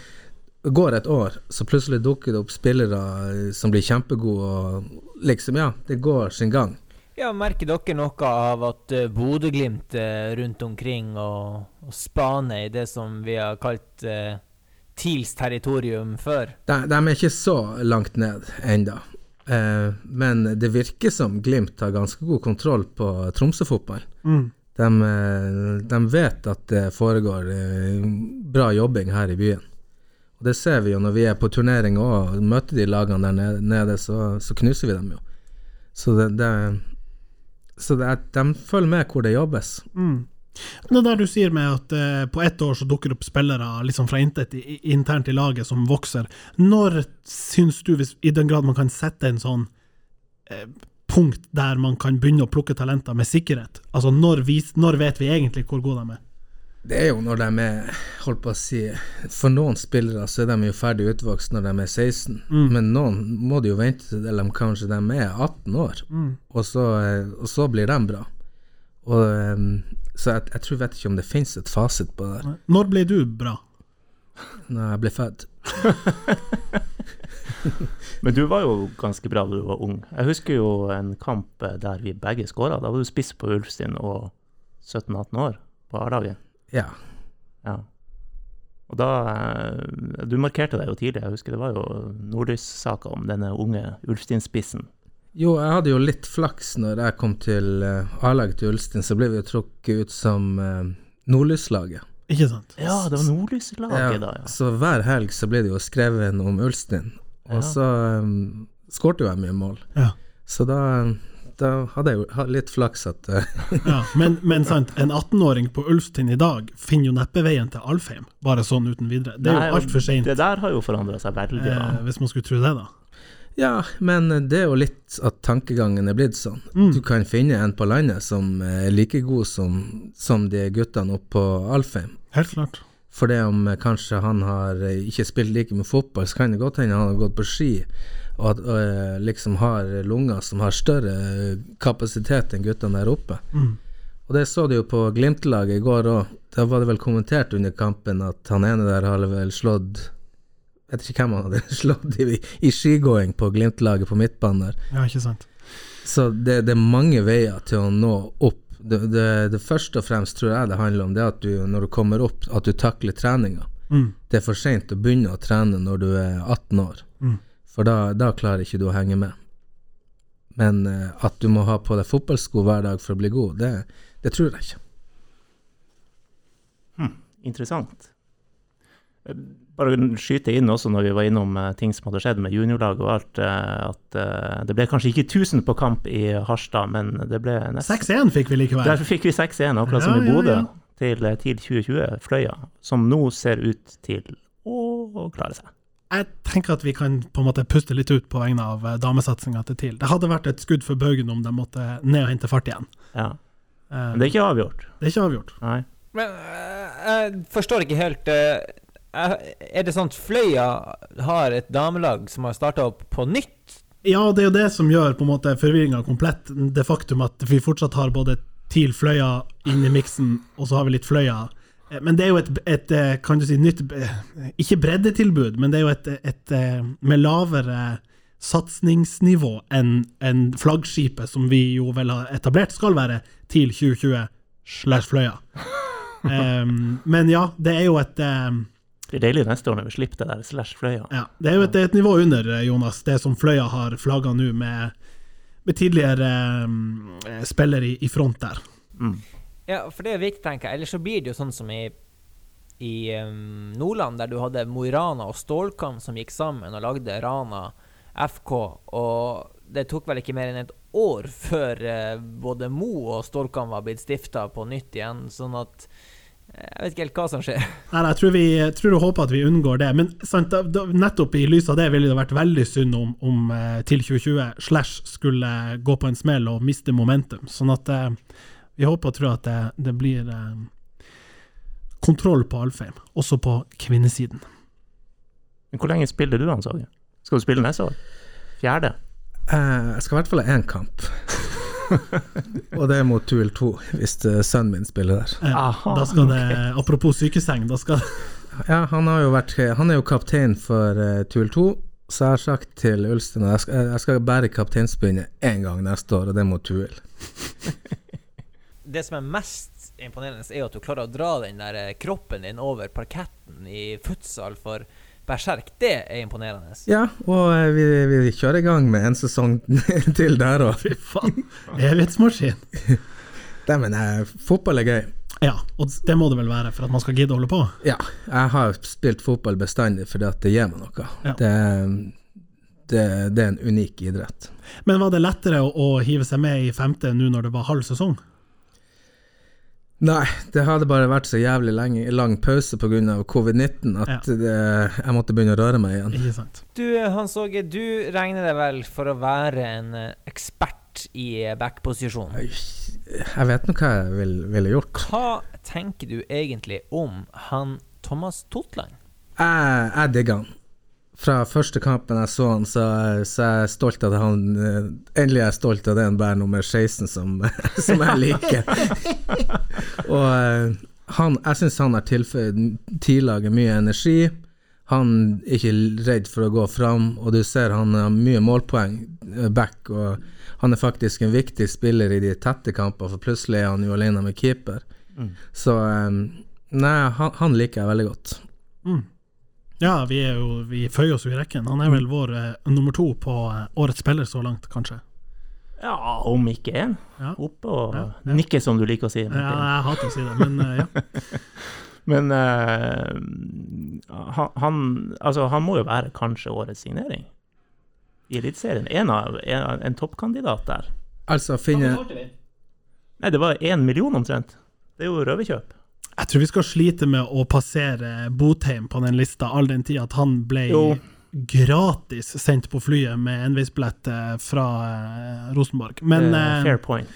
B: går et år, så plutselig dukker det opp spillere eh, som blir kjempegode, og liksom, ja, det går sin gang.
D: Ja, Merker dere noe av at eh, Bodø-Glimt eh, rundt omkring og, og spaner i det som vi har kalt eh, TILs territorium før?
B: De, de er ikke så langt ned ennå, eh, men det virker som Glimt har ganske god kontroll på Tromsø-fotball.
C: Mm.
B: De, eh, de vet at det foregår eh, bra jobbing her i byen. Og Det ser vi jo når vi er på turnering og møter de lagene der nede- nede, så, så knuser vi dem jo. Så, det, det, så det, er- de følger med hvor det jobbes.
C: Mm. Det der du sier med at eh, på ett år så dukker det opp spillere liksom fra intet i, i- internt i laget som vokser. Når syns du, hvis, i den grad man kan sette en sånn eh, punkt der man kan begynne å plukke talenter med sikkerhet, altså når, vis, når vet vi egentlig hvor gode de er?
B: Det er jo når de er holdt på å si, For noen spillere så er de jo ferdig utvokst når de er 16, men noen må du jo vente til de kanskje de er 18 år, og, så, eh, og så blir de bra. Og, ehm, så jeg, jeg tror vet ikke om det finnes et fasit på det
C: Når ble du bra?
B: når jeg blir født.
A: Men du var jo ganske bra da du var ung. Jeg husker jo en kamp eh, der vi begge skåra. Da var du spiss på Ulfstien og 17-18 år på A-laget.
B: Ja.
A: Ja. Og da eh, Du markerte deg jo tidlig. Jeg husker det var jo nordlyssaka om denne unge Ulfstien-spissen.
B: Jo, jeg hadde jo litt flaks når jeg kom til eh, A-laget til Ulstein, så ble vi jo trukket ut som uh, Nordlyslaget.
C: Ikke sant?
A: Ja, det var nordlyslaget da, ja.
B: Så hver helg så ble det jo skrevet om Ulstein, og
A: Ja.
B: så um, skårte jo jeg mye mål.
C: Ja.
B: Så da, um, da hadde jeg jo ha- litt flaks at eh,
C: ja. Men, men sant, en 18-åring på Ulfstind i dag finner jo neppe veien til Alfheim, bare sånn uten videre. Det er
A: Nei,
C: jo
A: og
C: altfor seint,
A: Det der har jo forandra seg veldig. da.
C: eh, hvis man skulle tro det, da.
B: Ja, men det er jo litt at tankegangen er blitt sånn.
A: Mm.
B: Du kan finne en på landet som er like god som, som de guttene oppe på Alfheim.
C: Helt klart.
B: For det om eh, kanskje han har eh, ikke spilt like med fotball, så kan det godt hende han har gått på ski og at, eh, liksom har lunger som har større eh, kapasitet enn guttene der oppe. Og det så du jo på Glimt-laget i går òg. Da var det vel kommentert under kampen at han ene der hadde vel slått Jeg vet ikke hvem han hadde slått i, i skigåing på Glimt-laget på midtbanen der.
C: Ja, ikke sant.
B: Så det, det er mange veier til å nå opp. Det, det, det første og fremst tror jeg det handler om, det er at du når du kommer opp, at du takler treninga. Det er for seint å begynne å trene når du er 18 år, for da, da klarer ikke du å henge med. Men eh, at du må ha på deg fotballsko hver dag for å bli god, det, det tror jeg ikke.
A: Interessant. Bare skyte inn også når vi var innom eh, ting som hadde skjedd med juniorlag og alt, eh, at eh, det ble kanskje ikke 1000 på kamp i Harstad, men det ble nesten
C: 6-1 fikk vi likevel.
A: Derfor fikk vi 6-1, akkurat som
C: Ja,
A: i
C: ja,
A: Bodø,
C: ja.
A: til, eh, til 2020, Fløya, som nå ser ut til å klare seg.
C: Jeg tenker at vi kan på en måte puste litt ut på vegne av eh, damesatsinga til TIL. Det hadde vært et skudd for baugen om de måtte ned og hente fart igjen.
A: Ja.
C: Eh,
A: Men det er ikke avgjort.
C: det er ikke avgjort.
A: Nei.
D: Men eh, jeg forstår ikke helt eh, jeg- Er det sånn at Fløya har et damelag som har starta opp på nytt?
C: Ja, det er jo det som gjør på en måte forvirringa komplett. Det faktum at vi fortsatt har både TIL Fløya inn i miksen, og så har vi litt Fløya. Eh, Men det er jo et, et eh, kan du si, nytt eh, Ikke breddetilbud, men det er jo et, et eh, med lavere satsningsnivå enn enn flaggskipet, som vi jo vel har etablert skal være TIL 2020 slash Fløya. Em, men ja, det er jo et eh, em,
A: Det blir deilig neste år når vi slipper det der slash Fløya.
C: ja, det er jo et, det er et nivå under, eh, Jonas, det som Fløya har flagga nå, med, med tidligere eh, spillere i, i front der.
D: Ja, for det er viktig, tenker jeg. Ellers så blir det jo sånn som i, i em, Nordland, der du hadde Mo i Rana og Stålkamp som gikk sammen og lagde Rana FK, og det tok vel ikke mer enn et år før eh, både Mo og Stålkamp var blitt stifta på nytt igjen, sånn at eh, Jeg vet ikke helt hva som skjer.
C: Nei, nei, jeg tror, vi, jeg tror og håper at vi unngår det, men sant, da, da, nettopp i lys av det ville det vært veldig synd om, om eh, TIL 2020 slash skulle gå på en smell og miste momentum. Sånn at eh, vi håper og tror at det, det blir eh, kontroll på Alfheim, også på kvinnesiden.
A: Men hvor lenge spiller du, Hans Åge? Skal du spille neste år? Fjerde?
B: Eh, Jeg skal i hvert fall ha én kamp. og det er mot Tuel 2, hvis eh, sønnen min spiller der.
C: Eh,
A: Aha,
C: da skal det, Apropos sykeseng, da skal
B: Ja, han, har jo vært, han er jo kaptein for eh, Tuel 2, så jeg har sagt til Ulstein at jeg skal, jeg skal bære kapteinspinnet én gang neste år, og det er mot Tuel.
D: det som er mest imponerende, er jo at du klarer å dra den der eh, kroppen din over parketten i futsal for berserk. Det er imponerende.
B: Ja, og eh, vi, vi kjører i gang med en sesong til der òg.
C: Fy faen, evighetsmaskin.
B: Dæven, eh, fotball er gøy.
C: Ja, og det må det vel være for at man skal gidde å holde på?
B: Ja, jeg har spilt fotball bestandig fordi at det gir meg noe.
C: Ja.
B: Det, det, det er en unik idrett.
C: Men var det lettere å, å hive seg med i femte nå når det var halv sesong?
B: Nei, det hadde bare vært så jævlig lang, lang pause pga. covid-19 at det, jeg måtte begynne å røre meg igjen.
C: Ikke sant?
D: Du, Hans Åge, du regner deg vel for å være en eh, ekspert i eh, backposisjon.
B: Jeg vet nå hva jeg ville vil gjort.
D: Hva tenker du egentlig om han Thomas Totland?
B: Jeg, jeg digger han. Fra første kampen jeg så han, så, så er jeg stolt av at han eh, Endelig er jeg stolt av den bær nummer 16 som, som jeg liker. Og eh, han, jeg syns han har tilføyd tidlaget mye energi. Han er ikke redd for å gå fram, og du ser han har mye målpoeng eh, back. Og han er faktisk en viktig spiller i de tette kamper, for plutselig er han jo alene med keeper. Så eh, Nei, han, han liker jeg veldig godt.
C: Ja, vi, er jo, vi føyer oss jo i rekken. Han er vel vår eh, nummer to på eh, årets spiller så langt, kanskje.
A: Ja, om ikke én.
C: Ja.
A: Oppe og nikke, som du liker å si.
C: Ja,
A: Martin.
C: jeg hater å si det, men eh, ja.
A: Men eh, han- han, altså, han må jo være kanskje årets signering i Eliteserien. En, av- en, en toppkandidat der.
B: Altså finne
A: Nei, det var én million omtrent. Det er jo røverkjøp.
C: Jeg tror vi skal slite med å passere Botheim på den lista, all den tid at han ble
A: Jo.
C: gratis sendt på flyet med enveisbillett eh, fra eh, Rosenborg. Men
A: Eh,
C: eh,
A: Fair point.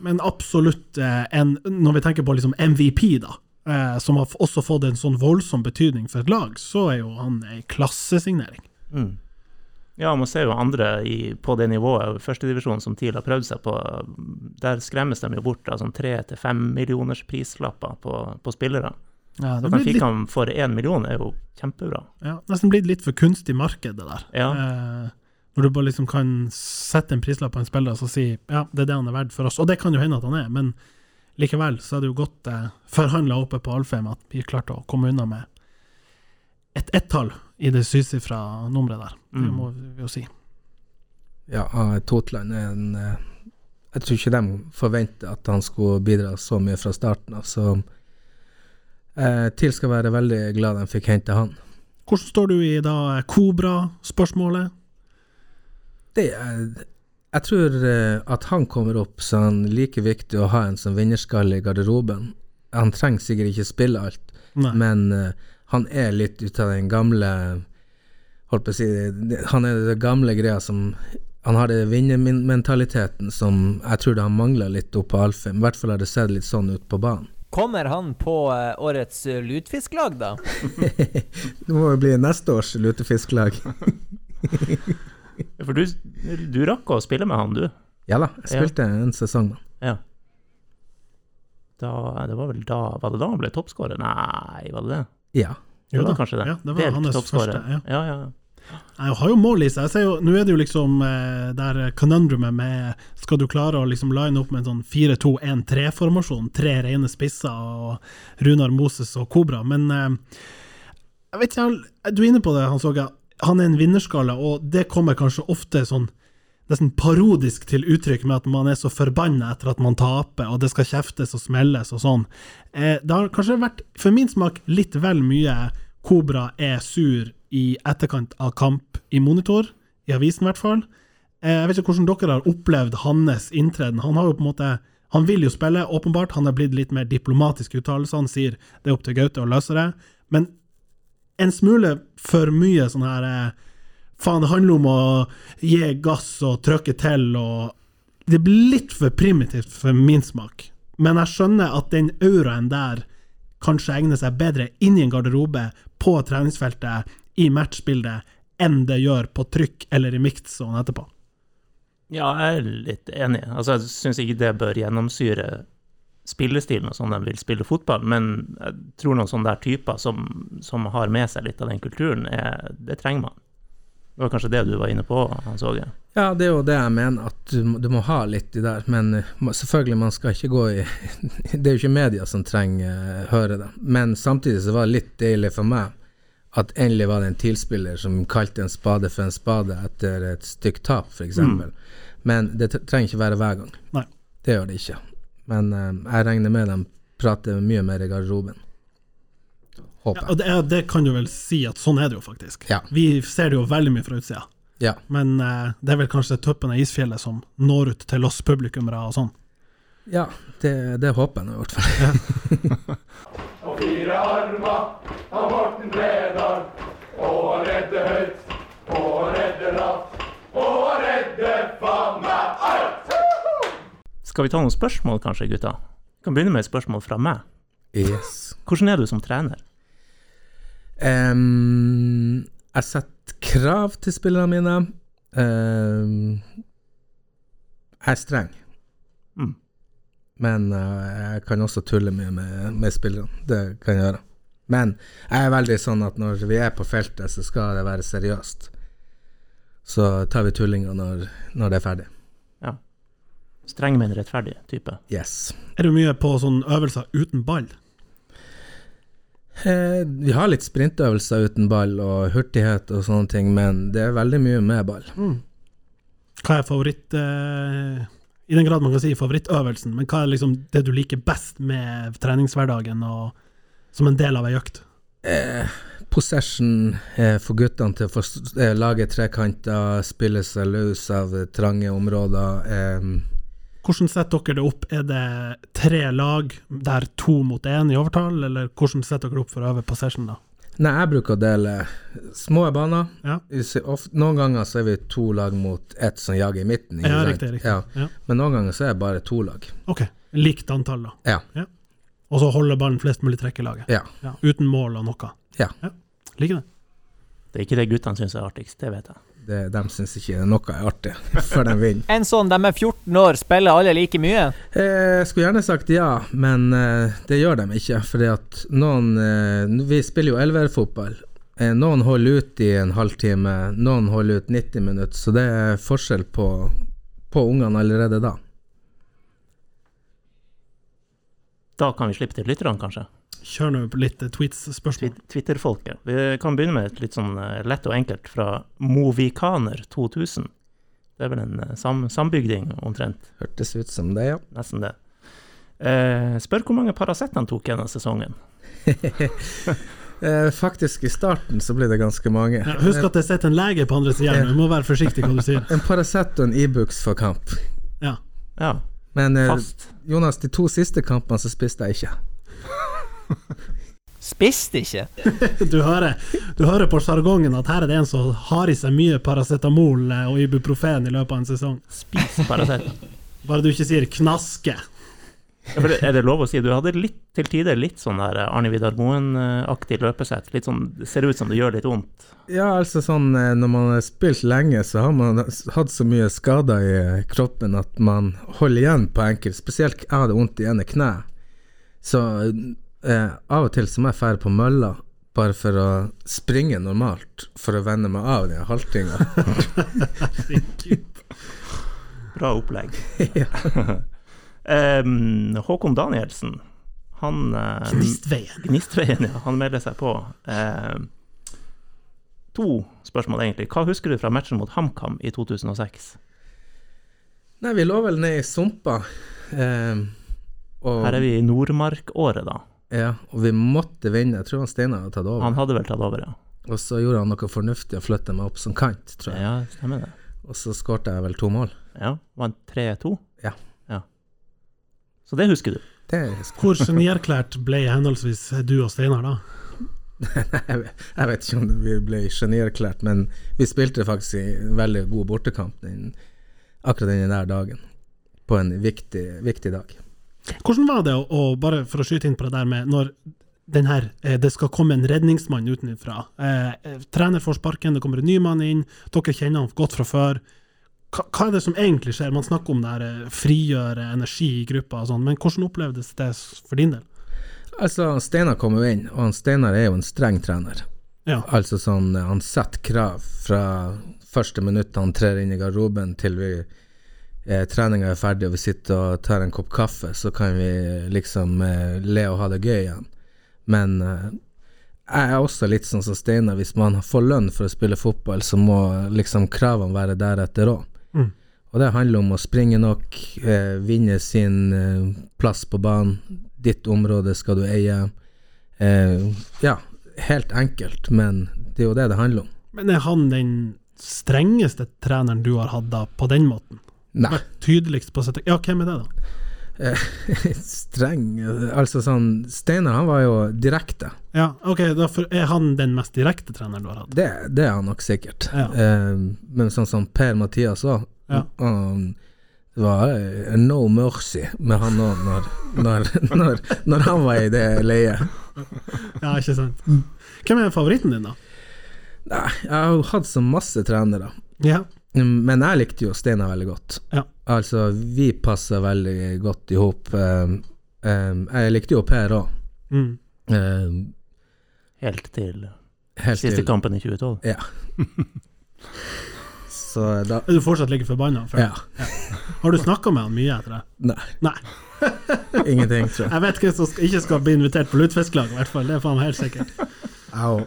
C: Men absolutt eh, en Når vi tenker på liksom MVP, da, eh, som har f- også fått en sånn voldsom betydning for et lag, så er jo han ei klassesignering.
A: Mm. Ja, man ser jo andre i, på det nivået, førstedivisjonen som TIL har prøvd seg på. Der skremmes de jo bort av sånn tre til fem millioners prislapper på, på spillere. Så
C: Ja,
A: at
C: det
A: de
C: blir
A: fikk
C: litt,
A: ham for én million, er jo kjempebra.
C: ja, nesten blitt litt for kunstig marked, det der.
A: Ja.
C: Eh, når du bare liksom kan sette en prislapp på en spiller og så si ja, det er det han er verdt for oss. Og det kan jo hende at han er, men likevel så er det jo godt eh, forhandla oppe på Alfheim at vi klarte å komme unna med et ett-tall i det sysifra nummeret der. Det
A: Mm.
C: må vi jo si.
B: Ja, han- Totland er en eh, Jeg tror ikke de forventer at han skulle bidra så mye fra starten av, så Eh, TIL skal være veldig glad de fikk hente han.
C: Hvordan står du i da eh, Kobra-spørsmålet?
B: Det er, jeg tror eh, at han kommer opp, så han er like viktig å ha en som vinnerskalle i garderoben. Han trenger sikkert ikke spille alt,
C: Nei.
B: men eh, han er litt ut av den gamle Holdt på å si det- Han er det gamle greia som Han har den vinnermentaliteten som jeg tror det han mangla litt oppe på Alfheim. I hvert fall har det sett litt sånn ut på banen.
D: Kommer han på eh, årets eh, lutfisklag, da?
B: Det må jo bli neste års lutefisklag.
A: For du, du rakk å spille med han, du.
B: Ja da, jeg
A: Ja.
B: spilte en sesong, da.
A: Ja. Da, det var vel da Var det da han ble toppskårer? Nei, var det det?
B: Ja.
A: Jo da, kanskje det.
C: Ja, det var
A: Delt
C: hans
A: toppskårer.
C: første, ja.
A: Ja, ja.
C: Jeg har jo mål i seg. Jeg ser jo, nå er det jo liksom eh, der conundrumet med Skal du klare å liksom line opp med en sånn 4-2-1-3-formasjon? Tre rene spisser og Runar Moses og Kobra. Men eh, jeg vet ikke, jeg- du er inne på det, Hans Åge. Han er en vinnerskalle, og det kommer kanskje ofte sånn nesten parodisk til uttrykk med at man er så forbanna etter at man taper, og det skal kjeftes og smelles og sånn. Eh, det har kanskje vært, for min smak, litt vel mye Kobra er sur i etterkant av kamp i monitor, i avisen i hvert fall. Eh, jeg vet ikke hvordan dere har opplevd hans inntreden. Han har jo på en måte han vil jo spille, åpenbart. Han har blitt litt mer diplomatisk i uttalelsene. Han sier det er opp til Gaute å løse det. Men en smule for mye sånn her eh, Faen, det handler om å gi gass og trykke til og Det blir litt for primitivt for min smak. Men jeg skjønner at den auraen der kanskje egner seg bedre inni en garderobe, på treningsfeltet, i matchbildet, enn det gjør på trykk eller i mixzone etterpå.
A: Ja, jeg er litt enig. Altså, jeg syns ikke det bør gjennomsyre spillestilen og sånn de vil spille fotball, men jeg tror noen sånne der typer som, som har med seg litt av den kulturen, er, det trenger man. Det var kanskje det du var inne på, Hans Åge?
B: Ja, det er jo det jeg mener, at du, må- du må ha litt i der, men eh, ma- selvfølgelig, man skal ikke gå i Det er jo ikke media som trenger eh, høre det, men samtidig så var det litt deilig for meg at endelig var det en tilspiller som kalte en spade for en spade etter et stykk tap, f.eks. eksempel Men det tre- trenger ikke være hver gang.
C: Nei.
B: Det gjør det ikke. Men eh, jeg regner med de prater mye mer i garderoben.
C: Ja,
B: Håper jeg.
C: og det, er- det kan du vel si at sånn er det jo faktisk.
B: Ja.
C: Vi ser det jo veldig mye fra utsida,
B: Ja.
C: men eh, det er vel kanskje toppen av isfjellet som når ut til oss publikummere og sånn.
B: ja det, det håper jeg nå, i hvert fall.
F: og fire armer av Morten Bredal. Og redde høyt, og redde lavt, og redde faen meg alt!
A: Skal vi ta noen spørsmål, kanskje, gutta? Vi kan begynne med et spørsmål fra meg.
B: Yes.
A: Hvordan er du som trener?
B: Ehm, jeg setter krav til spillerne mine. Ehm, jeg er streng.
A: Mm.
B: Men eh, jeg kan også tulle mye med, med spillerne. Det kan jeg gjøre. Men jeg er veldig sånn at når vi er på feltet, så skal det være seriøst. Så tar vi tullinga når, når det er ferdig.
A: Streng, men rettferdig type.
B: Yes.
C: Er du mye på sånne øvelser uten ball?
B: Eh, vi har litt sprintøvelser uten ball og hurtighet og sånne ting, men det er veldig mye med ball.
C: Hva er favoritt eh, I den grad man kan si favorittøvelsen, men hva er liksom det du liker best med treningshverdagen og som en del av ei økt?
B: eh, possession eh, for guttene til å forst- eh, lage trekanter, spille seg løs av eh, trange områder. Eh,
C: Hvordan setter dere det opp? Er det tre lag der to mot én i overtall, eller hvordan setter dere opp for å øve possession, da?
B: nei, jeg bruker å dele små baner.
C: Ja.
B: Vi ser ofte- Noen ganger så er vi to lag mot ett som jager i midten. ikke
C: Ja,
B: sant?
C: riktig, riktig.
B: Ja.
C: Ja.
B: Men noen ganger så er det bare to lag.
C: Ok, likt antall, da.
B: Ja.
C: Og så holde ballen flest mulig trekk i laget.
B: Ja.
C: Ja, uten mål og noe.
B: Ja.
C: Liker det.
A: Det er ikke det guttene syns er artigst, det vet jeg.
B: Det, de syns ikke noe er artig før de vinner.
D: En sånn, de er 14 år, spiller alle like mye?
B: Eh, skulle gjerne sagt ja, men eh, det gjør de ikke. Fordi at noen eh, Vi spiller jo elverfotball. Eh, noen holder ut i en halvtime, noen holder ut 90 minutter. Så det er forskjell på, på ungene allerede da.
A: Da kan vi slippe til lytterne, kanskje.
C: Kjør nå litt eh, tweets-spørsmål.
A: Twi- Twitter-folket. Vi kan begynne med et litt sånn eh, lett og enkelt fra Movikaner2000. Det er vel en eh, sam sambygding, omtrent.
B: Hørtes ut som det, ja.
A: Nesten det. Eh, spør hvor mange Paracet han tok gjennom sesongen.
B: Eh, faktisk, i starten så ble det ganske mange.
C: Ja, husk at det sitter en lege på andre sida, du må være forsiktig hva du sier.
B: En Paracet og en Ibux for kamp.
C: Ja.
A: Ja,
B: Men eh,
A: fast.
B: Jonas, de to siste kampene så spiste jeg ikke.
D: Spiste ikke!
C: Du hører, du hører på sjargongen at her er det en som har i seg mye paracetamol eh, og ibuprofen i løpet av en sesong.
A: Spis Paracet.
C: Bare du ikke sier 'knaske'.
A: Ja, for det- Er det lov å si? Du hadde litt, til tider litt sånn der eh, Arne Vidar Moen-aktig løpesett. Litt sånn, det ser ut som det gjør litt vondt.
B: Ja, altså sånn eh, når man har spilt lenge, så har man s- hatt så mye skader i eh, kroppen at man holder igjen på enkelt. Spesielt jeg hadde vondt i ene kne. Så eh, av og til så må jeg fære på mølla bare for å springe normalt, for å venne meg av den haltinga.
A: Bra opplegg.
B: Ja.
A: Em, Håkon Danielsen, han eh,
C: Knistveien.
A: Gnistveien, ja. Han melder seg på. Eh, to spørsmål, egentlig. Hva husker du fra matchen mot HamKam i 2006?
B: Nei, vi lå vel ned i sumpa. Eh, og,
A: Her er vi i Nordmark-året, da.
B: Ja, og vi måtte vinne. Jeg tror han Steinar hadde tatt over.
A: Han hadde vel tatt over, ja.
B: Og så gjorde han noe fornuftig og flytta meg opp som kant, tror jeg.
A: Ja, stemmer det.
B: Og så skårte jeg vel to mål.
A: Ja, Vant 3-2?
B: Ja.
A: ja. Så det husker du.
B: Det husker
C: Hvor genierklært ble henholdsvis du og Steinar da?
B: Jeg vet- jeg vet ikke om vi ble genierklært, men vi spilte faktisk i en veldig god bortekamp den, akkurat den der dagen. På en viktig, viktig dag.
C: Hvordan var det å, å bare for å skyte inn på det der med når den her, eh, det skal komme en redningsmann utenfra. Eh, eh, trener får sparken, det kommer en ny mann inn, dere kjenner han godt fra før. Hva, hva er det som egentlig skjer? Man snakker om det her eh, frigjøre energi i gruppa og sånn, men hvordan opplevdes det s- for din del?
B: Altså, Steinar kom jo inn, og han Steinar er jo en streng trener.
C: Ja.
B: Altså sånn, eh, han setter krav fra første minutt han trer inn i garderoben til vi eh, treninga er ferdig og vi sitter og tar en kopp kaffe, så kan vi liksom eh, le og ha det gøy igjen. Men eh, jeg er også litt sånn som Steinar, hvis man får lønn for å spille fotball, så må liksom kravene være deretter òg.
C: Mm.
B: Og det handler om å springe nok, eh, vinne sin eh, plass på banen. Ditt område skal du eie. Eh, ja, helt enkelt, men det er jo det det handler om.
C: Men er han den strengeste treneren du har hatt da, på den måten?
B: Nei.
C: Vært tydeligst på settet. Ja, hvem er det, da?
B: streng eh, Altså sånn Steinar, han var jo direkte.
C: Ja, ok, da for- Er han den mest direkte treneren du har hatt?
B: Det, det er han nok sikkert.
C: Ja.
B: Eh, men sånn som Per-Mathias òg
C: Ja.
B: han- Det var eh, no mercy med han òg, når, når, når, når han var i det leiet.
C: Ja, ikke sant? Hvem er favoritten din, da?
B: Nei, jeg har jo hatt så masse trenere,
C: Ja,
B: men jeg likte jo Steinar veldig godt.
C: Ja.
B: Altså, vi passa veldig godt i hop. Eh, jeg likte jo Per òg.
C: mm.
A: Helt til
B: Eh, helt
A: siste
B: til
A: kampen i 2012.
B: Så eh, da
C: Er du fortsatt like forbanna? for-
B: Ja.
C: Har du snakka med han mye etter det?
B: Nei.
C: Nei.
B: Ingenting, tror jeg.
C: Jeg vet hvem som sk- ikke skal bli invitert på lutefisklaget, i hvert fall. Det er faen meg helt sikkert.
B: Au.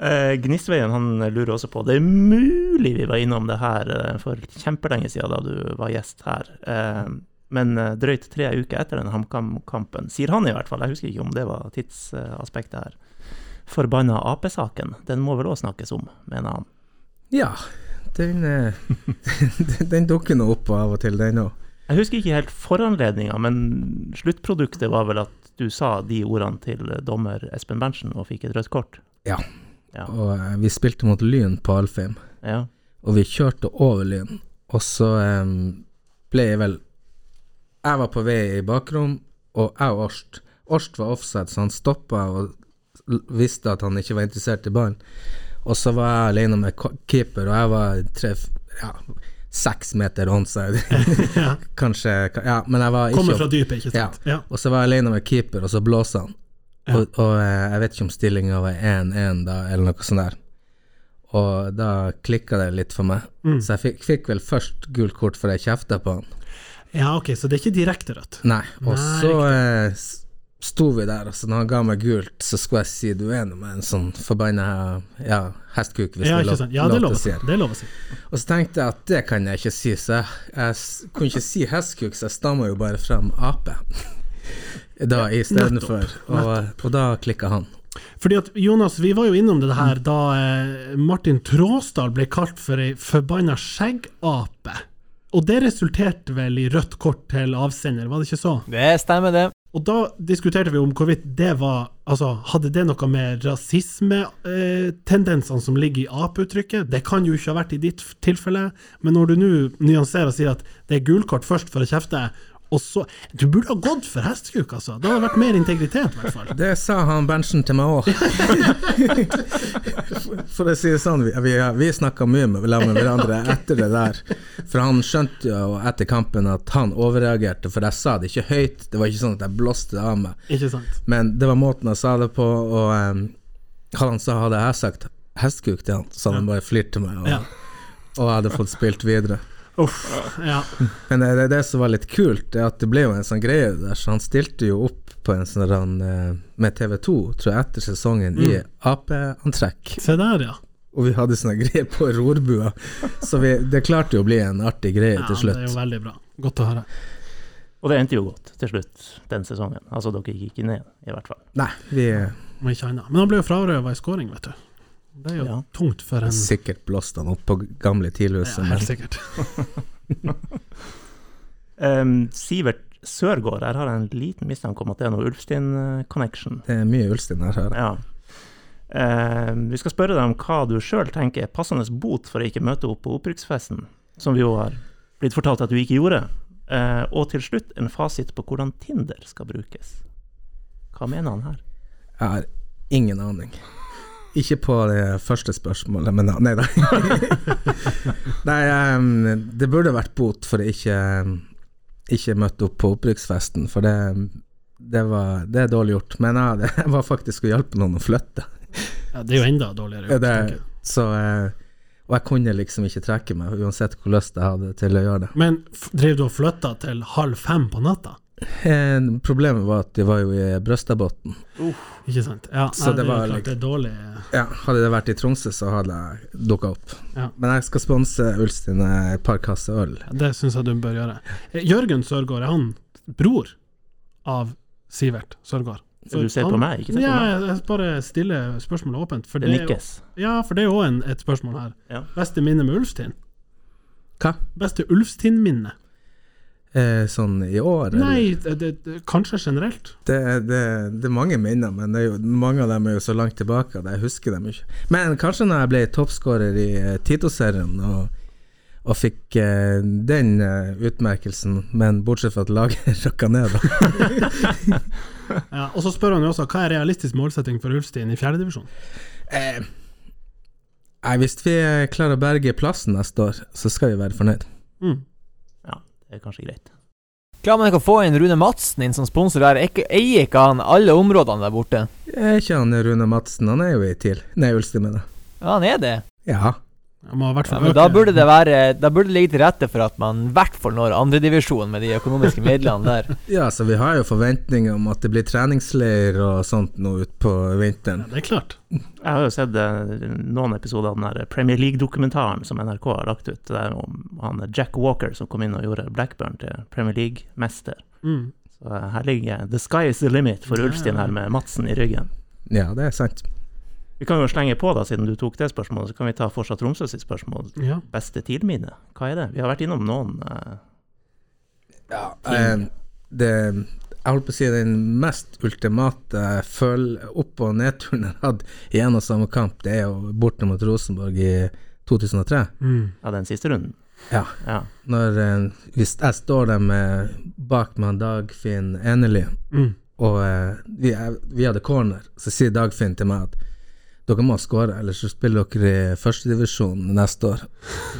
A: Eh, Gnistveien han lurer også på Det er mulig vi var innom det her eh, for kjempelenge siden da du var gjest her. Eh, men eh, drøyt tre uker etter den HamKam-kampen, sier han i hvert fall, jeg husker ikke om det var tidsaspektet her, forbanna Ap-saken, den må vel òg snakkes om, mener han.
B: Ja, den, eh, den dukker nå opp av og til, den òg.
A: Jeg husker ikke helt foranledninga, men sluttproduktet var vel at du sa de ordene til dommer Espen Berntsen og fikk et rødt kort.
B: Og eh, vi spilte mot Lyn på Alfheim,
A: Ja.
B: og vi kjørte over Lyn. Og så eh, ble jeg vel Jeg var på vei i bakrom, og jeg og Årst Årst var offside, så han stoppa og l- visste at han ikke var interessert i ballen. Og så var jeg alene med ko- keeper, og jeg var tre ja, seks meter onside.
C: Ja.
B: Kanskje Ja, men jeg var ikke
C: Kommer fra dypet, ikke sant? Ja.
B: Og så var jeg alene med keeper, og så blåste han.
C: Ja.
B: Og, og eh, jeg vet ikke om stillinga var 1-1 da, eller noe sånt der. Og da klikka det litt for meg.
C: Mm.
B: Så jeg fikk, fikk vel først gult kort for jeg kjefta på han.
C: ja, ok, så det er ikke direkte rødt.
B: Nei. Og
C: Nei,
B: så eh, s- sto vi der, og så når han ga meg gult, så skulle jeg si du er nå med en sånn forbanna ja, hestkuk, hvis
C: Ja,
B: det er
C: ikke
B: lov,
C: sant? Ja, det er
B: lov
C: lov å
B: til å si.
C: si. Det er lov å si.
B: Og så tenkte jeg at det kan jeg ikke si, så jeg, jeg s- kunne ikke si hestkuk, så jeg stamma jo bare fram ape. Da istedenfor. Og, og da klikka han.
C: Fordi at Jonas, vi var jo innom det her da eh, Martin Tråsdal ble kalt for ei forbanna skjeggape. Og det resulterte vel i rødt kort til avsender, var det ikke så?
D: Det stemmer, det.
C: Og da diskuterte vi om hvorvidt det var Altså, hadde det noe med rasismetendensene som ligger i apeuttrykket? Det kan jo ikke ha vært i ditt f- tilfelle, men når du nå nyanserer og sier at det er gulkort først for å kjefte, og så Du burde ha gått for hestekuk, altså! Det hadde vært mer integritet, i hvert fall.
B: Det sa han Berntsen til meg òg. For å si det sånn, vi, vi, vi snakka mye med, la med hverandre etter det der. For han skjønte jo etter kampen at han overreagerte, for jeg sa det ikke høyt. Det var ikke sånn at jeg blåste det av meg.
C: Ikke sant?
B: Men det var måten jeg sa det på, og um, han sa hadde jeg sagt hestkuk til han, så hadde han bare flirt til meg, og,
C: Ja.
B: og jeg hadde fått spilt videre.
C: Uff. Ja.
B: Men det, det, det som var litt kult, det er at det ble jo en sånn greie der, så han stilte jo opp på en sånn rann, eh, med TV2, tror jeg, etter sesongen,
C: Mm.
B: i Ap-antrekk.
C: Se der, ja.
B: Og vi hadde sånne greier på rorbua, så vi, det klarte jo å bli en artig greie
C: ja.
B: til
C: Det er
B: slutt.
C: jo veldig bra. Godt å høre.
A: Og det endte jo godt til slutt den sesongen. Altså dere gikk ikke ned, i hvert fall.
B: Nei, vi
C: Om ikke annet. Men han ble jo frarøva i scoring, vet du. Det er jo
A: Ja.
C: tungt for en
B: sikkert blåste han opp på gamle
C: ja,
B: tilhuset, men
C: Helt sikkert.
A: Em, Ehm, Sivert Sørgaard, her har jeg en liten mistanke om at det er noe Ulfstein-connection.
B: det er mye Ulstein her, her.
A: Ja. Em, vi skal spørre deg om hva du sjøl tenker er passende bot for å ikke møte opp på opprykksfesten, som vi jo har blitt fortalt at du ikke gjorde. Eh, og til slutt en fasit på hvordan Tinder skal brukes. Hva mener han her?
B: Jeg har ingen aning. Ikke på det første spørsmålet, men da, nei da. nei, em, det burde vært bot for å ikke, ikke møtte opp på opprykksfesten, for det, det, var, det er dårlig gjort. Men jeg, hadde- jeg var faktisk og hjalp noen å flytte,
C: Ja, det er jo enda dårligere. gjort,
B: det,
C: tenker jeg.
B: så eh, og jeg kunne liksom ikke trekke meg, uansett hvor lyst jeg hadde til å gjøre det.
C: Men f- drev du og flytta til halv fem på natta?
B: Eh, problemet var at de var jo i Brøstadbotn.
C: Ikke sant? Ja, nei,
B: Så det
C: det,
B: var
C: er jo
B: litt-
C: klart det er dårlig
B: Ja, hadde det vært i Tromsø, så hadde jeg dukka opp.
C: Ja.
B: Men jeg skal sponse Ulstein eh, et par kasser øl.
C: ja, Det syns jeg du bør gjøre. Eh, Jørgen Sørgaard, er han bror av Sivert Sørgaard? For
A: Du ser
C: han-
A: på meg, ikke se på
C: ja,
A: meg.
C: jeg- jeg bare stiller spørsmålet åpent. For
A: Det
C: det, er jo-
A: nikkes.
C: ja, for det er jo òg et spørsmål her.
A: Ja.
C: Beste minne med Ulfstind?
B: Hva?
C: Beste Ulfstind-minne?
B: Eh, sånn i år? eller?
C: Nei, det, det, det, kanskje generelt.
B: Det, det, det er mange minner, men det er jo, mange av dem er jo så langt tilbake at jeg husker dem ikke. Men kanskje når jeg ble toppskårer i eh, Tito-serien og, og fikk eh, den eh, utmerkelsen, men bortsett fra at laget røkka ned, da.
C: Ja, og så spør han jo også hva er realistisk målsetting for Ulfstind i fjerdedivisjon?
B: Eh, nei, hvis vi eh, klarer å berge plassen neste år, så skal vi være fornøyd.
C: Mm.
A: Ja, det er kanskje greit.
D: Klar man kan få inn Rune Madsen inn som sponsor der. Ikke- Eier ikke han alle områdene der borte?
B: Er ikke han Rune Madsen? Han er jo i TIL. Nei, Ulstein, mener jeg.
D: Ja, han er det.
B: Ja.
C: Jeg må i hvert
D: Ja,
C: fall
D: men
C: øke-
D: da burde det være Da burde det ligge til rette for at man i hvert fall når andredivisjon med de økonomiske midlene der.
B: ja, så vi har jo forventninger om at det blir treningsleir og sånt nå utpå
C: Ja,
B: vinteren.
C: det er klart.
A: Jeg har jo sett eh, noen episoder av den der Premier League-dokumentaren som NRK har lagt ut, der om han Jack Walker som kom inn og gjorde Blackburn til Premier League-mester.
C: Mm.
A: Så eh, her ligger jeg. The sky is the limit for Ulfstein her med Madsen i ryggen.
B: Ja, det er sant.
A: Vi kan jo slenge på, da, siden du tok det spørsmålet, så kan vi ta fortsatt Tromsø sitt spørsmål.
C: Ja.
A: Beste tidminne, hva er det? Vi har vært innom noen. eh,
B: Ja, eh, det Jeg holdt på å si den mest ultimate føl opp- og nedturen jeg har hatt i en og samme kamp, det er jo borte mot Rosenborg i 2003.
C: Mm.
A: Ja, den siste runden.
B: Ja.
A: Ja.
B: Når eh, hvis jeg står der med, bak med han Dagfinn Eneli
C: Mm.
B: Og eh, vi, er- vi hadde corner, så sier Dagfinn til meg at dere må skåre, ellers så spiller dere i førstedivisjon neste år.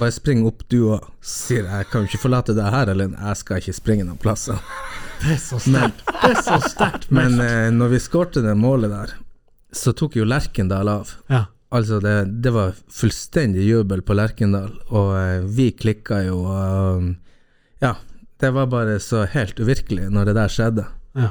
B: Bare spring opp, du òg. Sier jeg, jeg kan jo ikke forlate deg her, Elin. Jeg skal ikke springe noen plasser.
C: Det er så sterkt. Det er så sterkt.
B: Men eh, når vi skårte det målet der, så tok jo Lerkendal av.
C: ja.
B: Altså, det, det var fullstendig jubel på Lerkendal, og eh, vi klikka jo. og, eh, ja, det var bare så helt uvirkelig når det der skjedde.
C: Ja.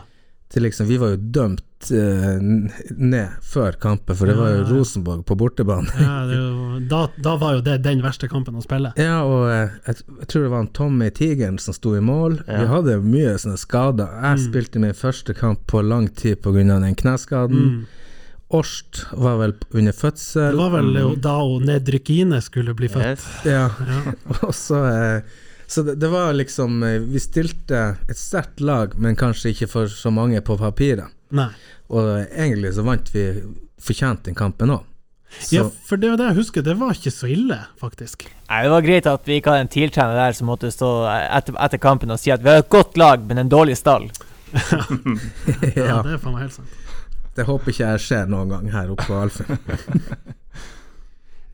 B: til liksom, Vi var jo dømt eh, n- ned før kampen, for det var jo
C: Ja.
B: Rosenborg på bortebane.
C: Ja, det er jo, da, da var jo det den verste kampen å spille.
B: Ja, og eh, jeg, jeg tror det var en Tommy Tigeren som sto i mål.
A: Ja.
B: Vi hadde mye sånne skader. Jeg
C: Mm.
B: spilte min første kamp på lang tid pga. den kneskaden. Orst var vel p- under
C: Mm. Det
B: fødsel.
C: var vel jo da hun Nedrykine skulle bli født.
A: Yes.
B: Ja,
C: Ja.
B: og så eh, Så det, det var liksom eh, Vi stilte et sterkt lag, men kanskje ikke for så mange på papiret.
C: Nei.
B: Og egentlig så vant vi fortjent den kampen òg.
C: Ja, for det er jo det jeg husker, det var ikke så ille, faktisk.
D: Nei, Det var greit at vi ikke hadde en TIL-trener der som måtte stå etter, etter kampen og si at vi har et godt lag, men en dårlig stall.
C: Ja,
B: ja,
C: Det er faen meg helt sant.
B: det håper ikke jeg skjer noen gang her oppe på Alfheim.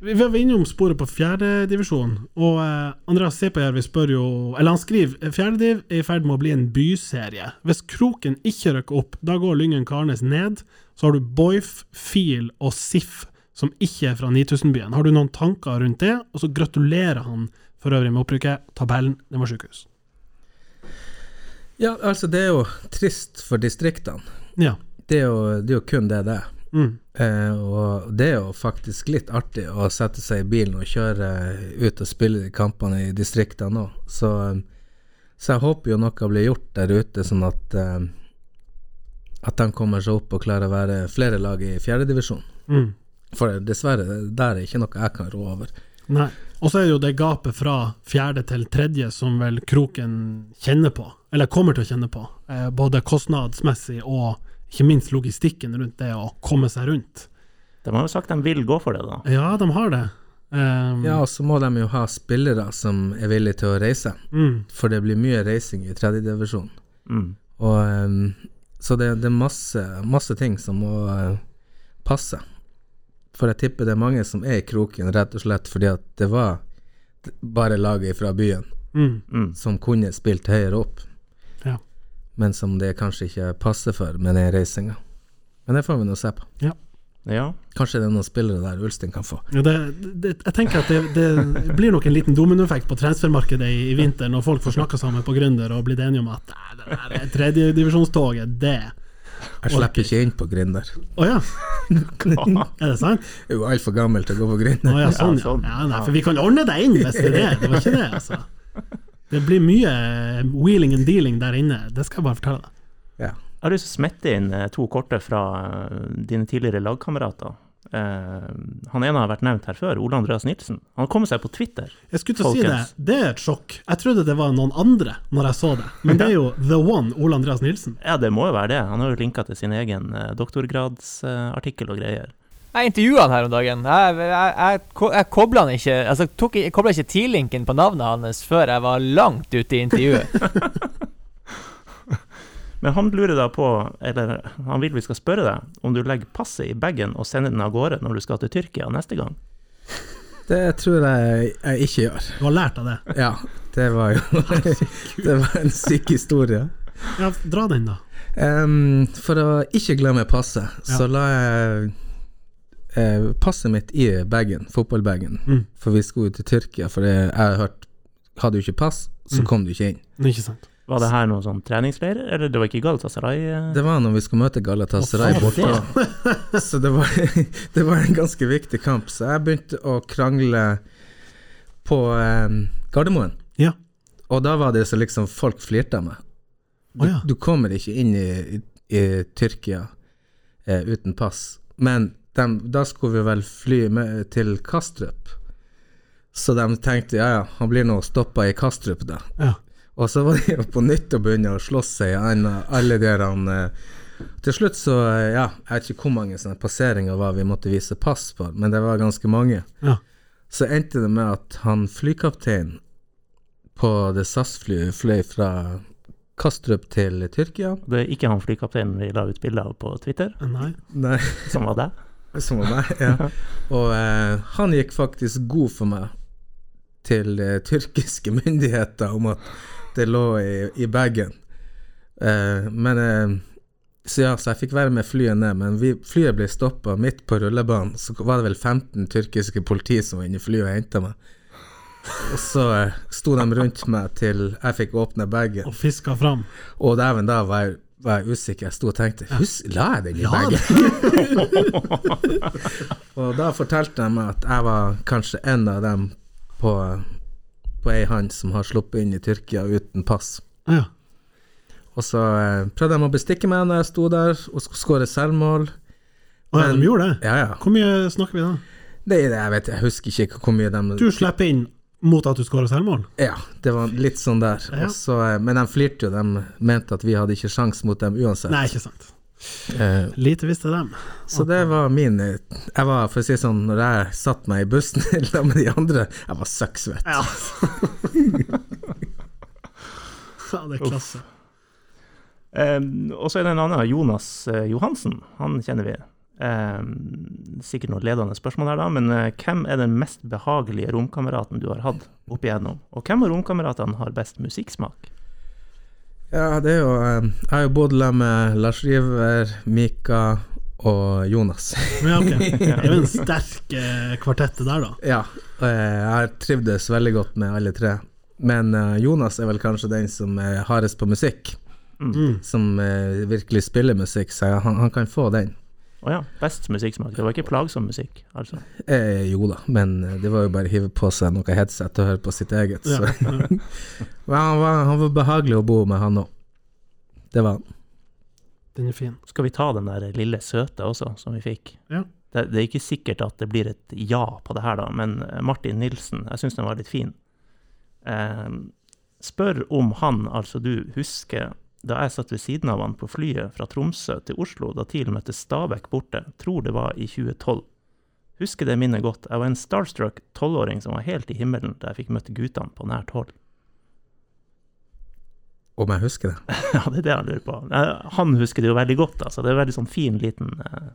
C: Vi vi var innom sporet på fjerdedivisjon, og eh, Andreas Sepajärvi spør jo Eller han skriver fjerdediv er i ferd med å bli en byserie. Hvis Kroken ikke rykker opp, da går Lyngen Karnes ned. Så har du Boif, Fil og Sif, som ikke er fra 9000-byen. Har du noen tanker rundt det? Og så gratulerer han for øvrig med opprykket. Tabellen, det var sjukehus.
B: Ja, altså, det er jo trist for distriktene.
C: Ja.
B: Det er jo, det er jo kun det det er.
C: Mm.
B: Eh, og det er jo faktisk litt artig å sette seg i bilen og kjøre eh, ut og spille de kampene i distriktene òg. Så, eh, så jeg håper jo noe blir gjort der ute, sånn at eh, At de kommer seg opp og klarer å være flere lag i fjerdedivisjon.
C: Mm.
B: For dessverre, der er ikke noe jeg kan rå over.
C: Nei. Og så er det jo det gapet fra fjerde til tredje som vel Kroken kjenner på, eller kommer til å kjenne på, eh, både kostnadsmessig og ikke minst logistikken rundt det å komme seg rundt.
A: De har jo sagt de vil gå for det, da.
C: Ja, de har det. Ehm,
B: Ja, og så må de jo ha spillere som er villige til å reise,
C: mm,
B: for det blir mye reising i tredjedivisjon.
A: Mm.
B: Og ehm, Så det, det er masse, masse ting som må eh, passe. For jeg tipper det er mange som er i kroken rett og slett fordi at det var d- bare laget fra byen
C: mm.
A: Mm.
B: som kunne spilt høyere opp,
C: Ja.
B: men som det kanskje ikke passer for med den reisinga. Men det får vi nå se på.
A: Ja.
B: Kanskje det er noen spillere der Ulstein kan få.
C: Ja, det, det, jeg tenker at det, det blir nok en liten dominoeffekt på transfermarkedet i, i vinter, når folk får snakka sammen på Gründer og blitt enige om at "Nei, det der er tredjedivisjonstoget, det
B: Jeg slipper ikke inn på Gründer.
C: Å ja,
B: Jeg
C: er det sant?
B: er jo altfor gammel til å gå på
C: Å
B: Gründer.
C: ja, sånn, ja.
A: sånn.
C: ja nei, for vi kan ordne deg inn hvis det er det. Det var ikke det, altså. Det blir mye eh, wheeling and dealing der inne, det skal jeg bare fortelle deg.
A: Jeg har lyst til å smette inn eh, to korte fra eh, dine tidligere lagkamerater. Eh, han ene har vært nevnt her før, Ole Andreas Nilsen. Han har kommet seg på Twitter.
C: Jeg skulle til å si det,
A: Folkens.
C: det er et sjokk. Jeg trodde det var noen andre når jeg så det, men det er jo The One, Ole Andreas Nilsen.
A: Ja, det må jo være det. Han har jo linka til sin egen eh, doktorgradsartikkel og greier.
D: Jeg intervjuet han her om dagen. Jeg, jeg, jeg, ko- jeg kobla han ikke Altså, tok, jeg kobla ikke T-linken på navnet hans før jeg var langt ute i intervjuet.
A: Men han lurer da på, eller han vil vi skal spørre deg, om du legger passet i bagen og sender den av gårde når du skal til Tyrkia neste gang.
B: Det tror jeg jeg ikke gjør.
C: Du har lært av det.
B: Ja, det var jo Det var en syk historie.
C: Ja, dra den, da.
B: Em, for å ikke glemme passet, så la jeg eh, passet mitt i bagen, fotballbagen.
C: Mm.
B: For vi skulle jo til Tyrkia, for det, jeg har hørt Hadde du ikke pass, så
C: Mm.
B: kom du ikke inn.
C: Det er ikke sant.
A: Var det her noen sånn treningsleir, eller det var ikke Galatasaray? eh?
B: Det var når vi skulle møte Galatasaray
A: Å, faen,
B: borte. Så det var, det var en ganske viktig kamp, så jeg begynte å krangle på em, Gardermoen.
C: Ja.
B: Og da var det så liksom folk flirte av meg.
C: Å
A: Ah.
C: ja.
B: Du kommer ikke inn i, i, i Tyrkia eh, uten pass. Men dem- da skulle vi vel fly med, til Kastrup. Så de tenkte ja, ja, han blir nå stoppa i Kastrup, da.
C: ja.
B: Og så var de jo på nytt å begynne å slåss seg igjen, og alle de han Til slutt så, eh, ja, jeg vet ikke hvor mange sånne passeringer var vi måtte vise pass for, men det var ganske mange.
C: Ja.
B: Så endte det med at han flykapteinen på det SAS-flyet fløy fra Kastrup til Tyrkia.
A: Det er ikke han flykapteinen vi la ut bilde av på Twitter,
C: Nei.
B: Nei,
A: som var deg.
B: som var meg, ja. Og eh, han gikk faktisk god for meg til eh, tyrkiske myndigheter om at det lå i, i bagen. Eh, men eh, Så ja, så jeg fikk være med flyet ned, men vi, flyet ble stoppa midt på rullebanen. Så var det vel 15 tyrkiske politi som var inne i flyet og henta meg. Og så eh, sto de rundt meg til jeg fikk åpne bagen.
C: Og fiska fram.
B: Og dæven, da var jeg var jeg usikker. Jeg sto og tenkte Husk, la jeg den i
C: Ja,
B: bagen? og da fortalte de meg at jeg var kanskje en av dem på, på ei hand som har sluppet inn i Tyrkia uten pass.
C: Ja.
B: Og så eh, prøvde de å bestikke meg når jeg sto der og sk- skåre selvmål.
C: Å ja,
B: Men-
C: de gjorde det?
B: Ja, ja.
C: Hvor mye snakker vi da?
B: Det, jeg vet jeg husker ikke hvor mye de
C: Du slipper inn mot at du skårer selvmål?
B: Ja, det var litt sånn der.
C: Ja.
B: Og så, eh, men de flirte jo, de mente at vi hadde ikke sjans mot dem uansett.
C: Nei, ikke sant.
B: Eh,
C: Lite visste dem.
B: så det var min eh, Jeg var, for å si det sånn, når jeg satte meg i bussen sammen med de andre, jeg var søkksvett.
C: Ja. ja, det er klasse.
A: Ehm, og så er det en annen, Jonas eh, Johansen. Han kjenner vi. Ehm, sikkert noe ledende spørsmål her, da, men eh, hvem er den mest behagelige romkameraten du har hatt opp igjennom? Og hvem av romkameratene har best musikksmak?
B: Ja, det er jo eh, Jeg har jo bodd sammen med Lars River, Mika og Jonas.
C: Men ja, ok. Det er jo en sterk eh, kvartett det der, da.
B: ja, og eh, jeg har trivdes veldig godt med alle tre. Men eh, Jonas er vel kanskje den som er hardest på musikk.
C: Mm.
B: Som eh, virkelig spiller musikk, så jeg- han, han kan få den.
A: Å ja, best musikksmak. Det var ikke plagsom musikk, altså.
B: Eh, jo da, men eh, det var jo bare å hive på seg noe headset og høre på sitt eget.
C: Ja.
B: Så. Men han, var, han var behagelig å bo med, han òg. Det var han.
C: Den er fin.
A: Skal vi ta den der lille søte også, som vi fikk?
C: Ja.
A: Det, det er ikke sikkert at det blir et ja på det her, da, men eh, Martin Nilsen, jeg syns den var litt fin. Ehm, spør om han, altså du, husker da jeg satt ved siden av han på flyet fra Tromsø til Oslo da TIL møtte Stabæk borte, tror det var i 2012. Husker det minnet godt. Jeg var en starstruck tolvåring som var helt i himmelen da jeg fikk møtt guttene på nært hold.
B: Om jeg husker det.
A: Ja, det er det jeg lurer på. Eh, Han husker det jo veldig godt, altså. Det er en veldig sånn fin liten eh,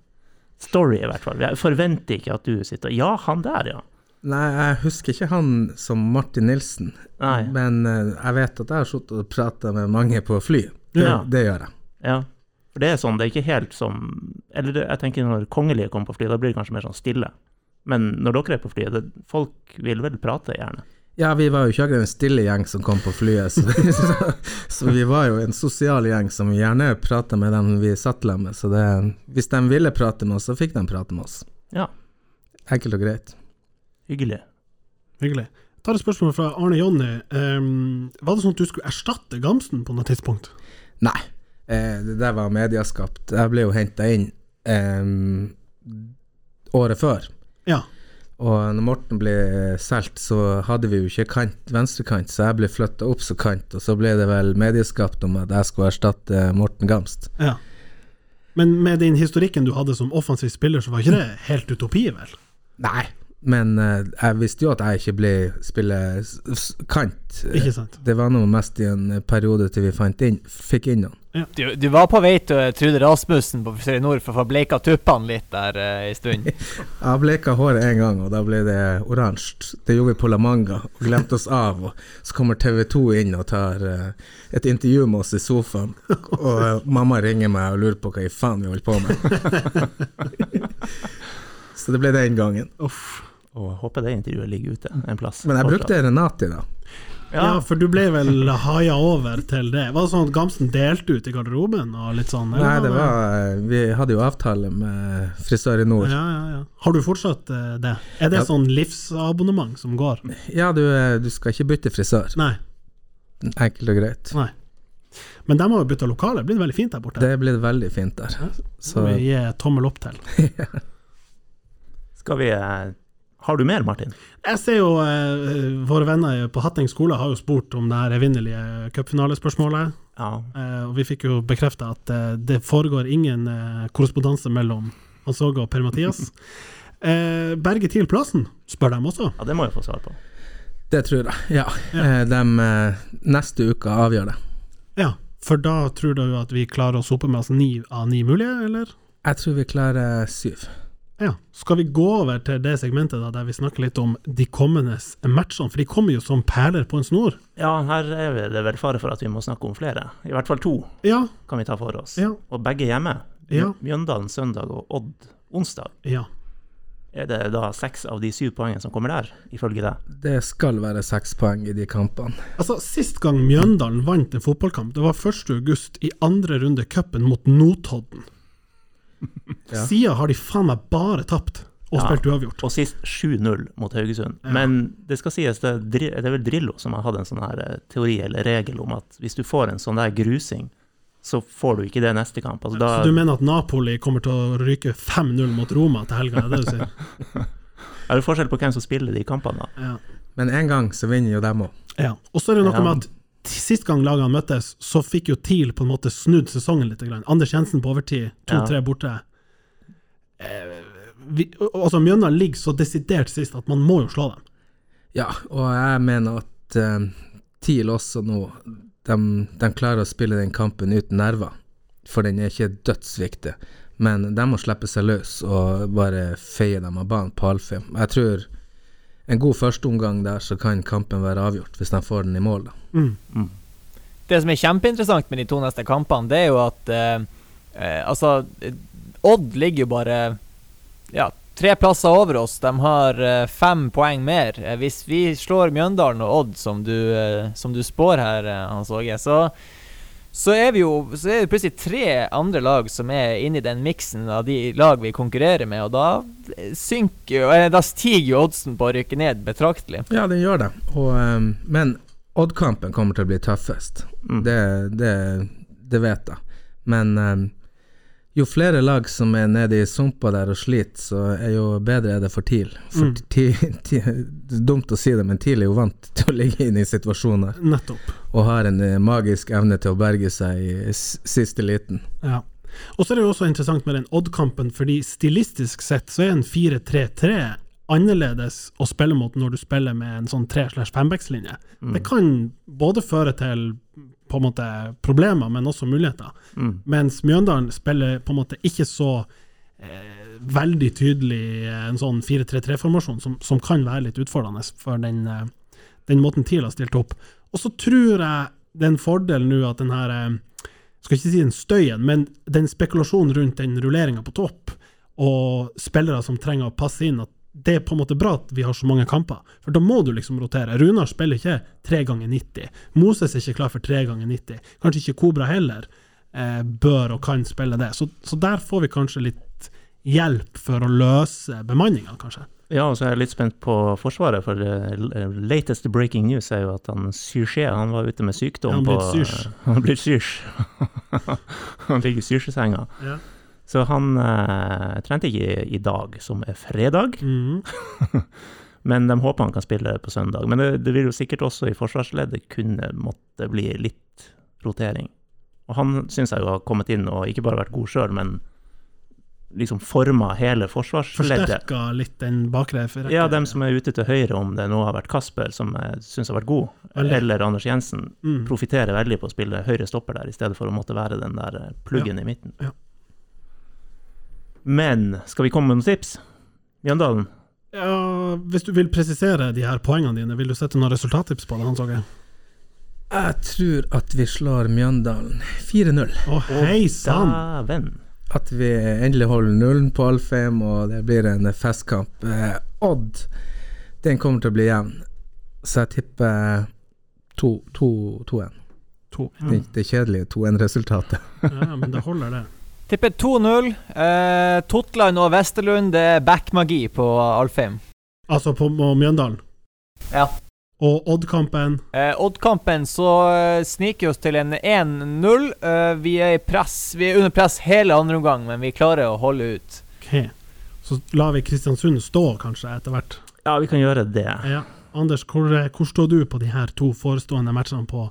A: story, i hvert fall. Jeg forventer ikke at du sitter Ja, han der, ja.
B: Nei, jeg husker ikke han som Martin Nilsen,
A: Nei.
B: men eh, jeg vet at jeg har sittet og prata med mange på fly. Det,
A: Ja.
B: det gjør jeg.
A: Ja. For det er sånn, det er ikke helt som Eller det, jeg tenker når kongelige kommer på fly, da blir det kanskje mer sånn stille. Men når dere er på flyet, det, folk vil vel prate, gjerne.
B: Ja, vi var jo ikke akkurat en stille gjeng som kom på flyet, så, så, så vi var jo en sosial gjeng som gjerne prata med dem vi satt sammen med. Så det, hvis de ville prate med oss, så fikk de prate med oss.
A: Ja.
B: Enkelt og greit.
A: Hyggelig.
C: Hyggelig. Jeg tar et spørsmål fra Arne Jonny. Ehm, var det sånn at du skulle erstatte Gamsten på noe tidspunkt?
B: Nei, eh, det der var medieskapt. Jeg ble jo henta inn em, året før.
C: Ja.
B: Og når Morten ble solgt, så hadde vi jo ikke kant, venstrekant, så jeg ble flytta opp som kant. Og så ble det vel medieskapt om at jeg skulle erstatte Morten Gamst.
C: ja. Men med den historikken du hadde som offensiv spiller, så var ikke det helt utopi, vel?
B: Nei, men eh, jeg visste jo at jeg ikke ble spille s- s- kant.
C: Ikke sant?
B: Det var nå mest i en periode til vi fant inn, fikk inn han.
D: Du, du var på vei til Trude Rasmussen på Frisør i Nord for å få bleika tuppene litt der uh, en stund.
B: Jeg bleka håret en gang, og da ble det oransje. Det gjorde vi på La Manga, og glemte oss av. Og så kommer TV 2 inn og tar eh, et intervju med oss i sofaen. Og eh, mamma ringer meg og lurer på hva i faen vi holder på med. så det ble den gangen.
C: Uff.
A: Og jeg håper det intervjuet ligger ute en plass.
B: Men jeg
A: fortsatt.
B: brukte Renati, da.
C: Ja. for du ble vel haia over til det. Var det sånn at Gamsten delte ut i garderoben og litt sånn? eller
B: Nei, det var eh, Vi hadde jo avtale med Frisør i
C: Ja,
B: Nord.
C: ja, ja. Har du fortsatt eh, det? Er det
B: Ja.
C: sånn livsabonnement som går?
B: Ja, du, eh, du skal ikke bytte frisør.
C: Nei.
B: Enkelt og greit.
C: nei. Men de har jo bytta lokale. Det blir veldig fint der borte.
B: Det ble veldig fint der.
C: Som
B: Så
C: vi gir tommel opp til.
A: Skal vi eh, Har du mer, Martin?
C: Jeg ser jo eh, våre venner på Hatting skole har jo spurt om det her evinnelige cupfinalespørsmålet.
A: Ja.
C: Eh, og vi fikk jo bekrefta at eh, det foregår ingen eh, korrespondanse mellom Hans Åge og Per-Mathias. Eh, Berge TIL Plassen spør dem også.
A: ja, det må jeg få svar på.
B: det tror jeg. Ja. Eh, dem, eh, neste uke avgjør det.
C: Ja, for da tror du at vi klarer å sope med oss ni av ni mulige, eller?
B: Jeg tror vi klarer syv.
C: Ja. Skal vi gå over til det segmentet da, der vi snakker litt om de kommende matchene? For de kommer jo som perler på en snor.
A: Ja, her er det vel fare for at vi må snakke om flere. I hvert fall to
C: Ja,
A: kan vi ta for oss.
C: ja,
A: Og begge hjemme.
C: Ja.
A: Mjøndalen søndag og Odd onsdag.
C: ja.
A: Er det da seks av de syv poengene som kommer der, ifølge deg?
B: Det skal være seks poeng i de kampene.
C: Altså, Sist gang Mjøndalen vant en fotballkamp, det var 1.8 i andre runde cupen mot Notodden.
B: Ja.
C: Siden har de faen meg bare tapt og
A: Ja.
C: spilt uavgjort.
A: Og sist 7-0 mot Haugesund.
C: Ja.
A: Men det skal sies, det er, Dri- det er vel Drillo som har hatt en sånn her eh, teori eller regel om at hvis du får en sånn der grusing, så får du ikke det neste kamp. Altså, da,
C: Så du mener at Napoli kommer til å ryke 5-0 mot Roma til helga, er det du sier?
A: er det forskjell på hvem som spiller de kampene, da?
C: Ja.
B: Men en gang så vinner jo dem òg.
C: Ja. Og så er det noe
A: Ja.
C: med at t- sist gang lagene møttes, så fikk jo TIL på en måte snudd sesongen litt. Grann. Anders Jensen på overtid, 2-3 borte. Eh, vi, og- altså Mjøndalen ligger så desidert sist at man må jo slå dem.
B: Ja, og jeg mener at eh, TIL også nå de, de klarer å spille den kampen uten nerver, for den er ikke dødsviktig. Men de må slippe seg løs og bare feie dem av banen på halvfem. Jeg tror en god førsteomgang der, så kan kampen være avgjort, hvis de får den i mål. da.
D: Det som er kjempeinteressant med de to neste kampene, det er jo at eh, eh, Altså, eh, Odd ligger jo bare ja, tre plasser over oss. De har eh, fem poeng mer. Eh, hvis vi slår Mjøndalen og Odd, som du, eh, som du spår her, eh, Hans Åge, så så er, vi jo, så er det plutselig tre andre lag som er inni den miksen av de lag vi konkurrerer med, og da synker jo eller Da stiger jo oddsen på å rykke ned betraktelig.
B: Ja, den gjør det. Og, eh, men Odd-kampen kommer til å bli tøffest.
A: Mm.
B: Det, det, det vet jeg. Men eh, jo flere lag som er nede i sumpa der og sliter, så er jo bedre er det for TIL. For
C: Mm.
B: TIL det er Dumt å si det, men TIL er jo vant til å ligge inne i situasjoner
C: Nettopp.
B: og har en eh, magisk evne til å berge seg i s- siste liten.
C: Ja. Og så er det jo også interessant med den Odd-kampen, fordi stilistisk sett så er en 4-3-3 annerledes å spille mot når du spiller med en sånn 3-5-backs-linje. Det kan både føre til på en måte problemer, men også muligheter.
A: Mm.
C: Mens Mjøndalen spiller på en måte ikke så eh, veldig tydelig eh, en sånn 4-3-3-formasjon, som, som kan være litt utfordrende for den, eh, den måten TIL har stilt opp. Og så tror jeg det er en fordel nå at den her eh, Skal ikke si den støyen, men den spekulasjonen rundt den rulleringa på topp, og spillere som trenger å passe inn, at det er på en måte bra at vi har så mange kamper, for da må du liksom rotere. Runar spiller ikke 3 ganger 90. Moses er ikke klar for 3 ganger 90. Kanskje ikke Kobra heller eh, bør og kan spille det. Så, så der får vi kanskje litt hjelp for å løse bemanninga, kanskje.
A: Ja, og så er jeg litt spent på Forsvaret, for eh, l- eh, latest breaking news er jo at han Syrché, han var ute med sykdom
C: Han
A: på
C: ble et syrsj.
A: Han ble et syrsj. han ligger i syrsjesenga.
C: Ja.
A: Så han eh, trente ikke i, i dag, som er fredag.
C: Mhm.
A: Men de håper han kan spille på søndag. Men det, det vil jo sikkert også i forsvarsleddet kunne måtte bli litt rotering. Og han syns jeg jo har kommet inn og ikke bare vært god sjøl, men liksom forma hele forsvarsleddet.
C: Forsterka litt den bakre rekke.
A: Ja, dem som er ute til høyre, om det nå har vært Kasper, som jeg syns har vært god,
C: Veldig.
A: eller Anders Jensen,
C: Mm.
A: profitterer veldig på å spille høyre stopper der, i stedet for å måtte være den der eh, pluggen i midten.
C: Ja.
A: Men skal vi komme med noen tips? Mjøndalen?
C: Ja, hvis du vil presisere de her poengene dine, vil du sette noen resultattips på det? Hans Åge?
B: Jeg tror at vi slår Mjøndalen 4-0.
C: Å, hei sann!
A: Dæven!
B: At vi endelig holder nullen på Alfheim, og det blir en festkamp. Eh, Odd, den kommer til å bli jevn, så jeg tipper 2-1.
C: To.
A: Mm.
B: Det, det kjedelige 2-1-resultatet.
C: Ja, men det holder, det.
D: Tipper 2-0. Eh, Totland og Westerlund, det er backmagi på Alfheim.
C: Altså på på Mjøndalen.
D: Ja.
C: Og Odd-kampen
D: Eh, Odd-kampen så eh, sniker vi oss til en 1-0. Eh, vi er i press. Vi er under press hele andre omgang, men vi klarer å holde ut.
C: Ok. Så lar vi Kristiansund stå, kanskje, etter hvert.
A: Ja, vi kan gjøre det.
C: Ja. Anders, hvor, eh, hvor står du på de her to forestående matchene på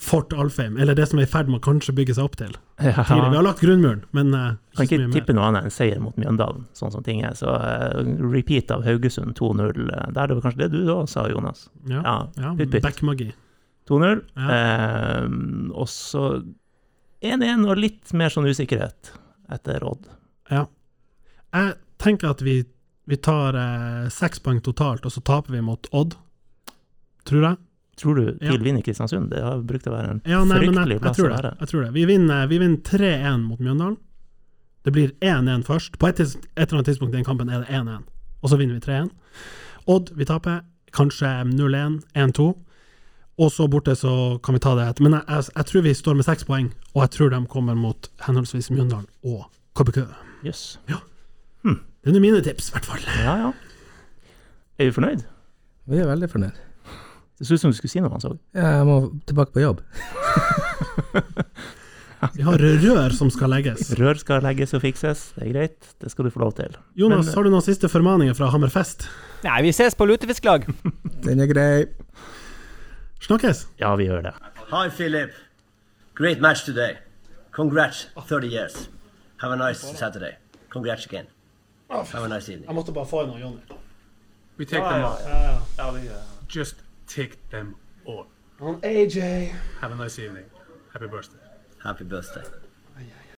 C: Fort Alfheim? Eller det som er i ferd med å kanskje bygge seg opp til?
A: Ja.
C: Tidlig. Vi har lagt grunnmuren, men eh,
A: Kan
C: ikke så
A: ikke
C: mye mer.
A: tippe noe annet enn seier mot Mjøndalen, sånn som ting er. Så eh, repeat av Haugesund 2-0. eh, Der det var kanskje det du da sa, Jonas.
C: Ja.
A: Ja,
C: Ja,
A: Pytt, pytt.
C: Backmagi.
A: 2-0.
C: Ja.
A: Eh, og så 1-1 og litt mer sånn usikkerhet etter Odd.
C: Jeg tenker at vi, vi tar eh, seks poeng totalt, og så taper vi mot Odd. Tror jeg.
A: Tror du
C: Ja.
A: TIL vinner Kristiansund? Det har brukt å være en
C: Ja, nei, men jeg,
A: fryktelig
C: jeg,
A: plass å
C: tror det.
A: være.
C: jeg tror det. Vi vinner, vi vinner 3-1 mot Mjøndalen. Det blir 1-1 først. På et, tids, et eller annet tidspunkt i den kampen er det 1-1. og så vinner vi 3-1. Odd, vi taper. Kanskje 0-1, 1-2. Og så borte så kan vi ta det etter. Men jeg, jeg, jeg tror vi står med seks poeng, og jeg tror de kommer mot henholdsvis Mjøndalen og KBK.
A: Jøss.
C: Det er nå mine tips, i hvert fall.
A: Ja, ja. Er vi fornøyd?
B: Vi er veldig fornøyd.
A: Det så ut som du skulle si noe, han så.
B: Jeg må tilbake på jobb.
C: Vi har rør som skal legges.
A: Rør skal legges og fikses, det er greit. Det skal du få lov til.
C: Jonas,
A: Men-
C: har du noen siste formaninger fra Hammerfest?
D: Nei, vi ses på lutefisklag.
B: Den er grei.
C: Snakkes!
A: Ja, vi gjør det.
G: Hi, Philip. Great match today. Congrats, 30 years. Have a nice Saturday. Congrats again. Have a nice evening.
C: Jeg måtte bare få inn Jonny.
H: We take them all. Just take them all.
C: AJ.
H: Have a nice evening. Happy birthday.
G: Happy birthday.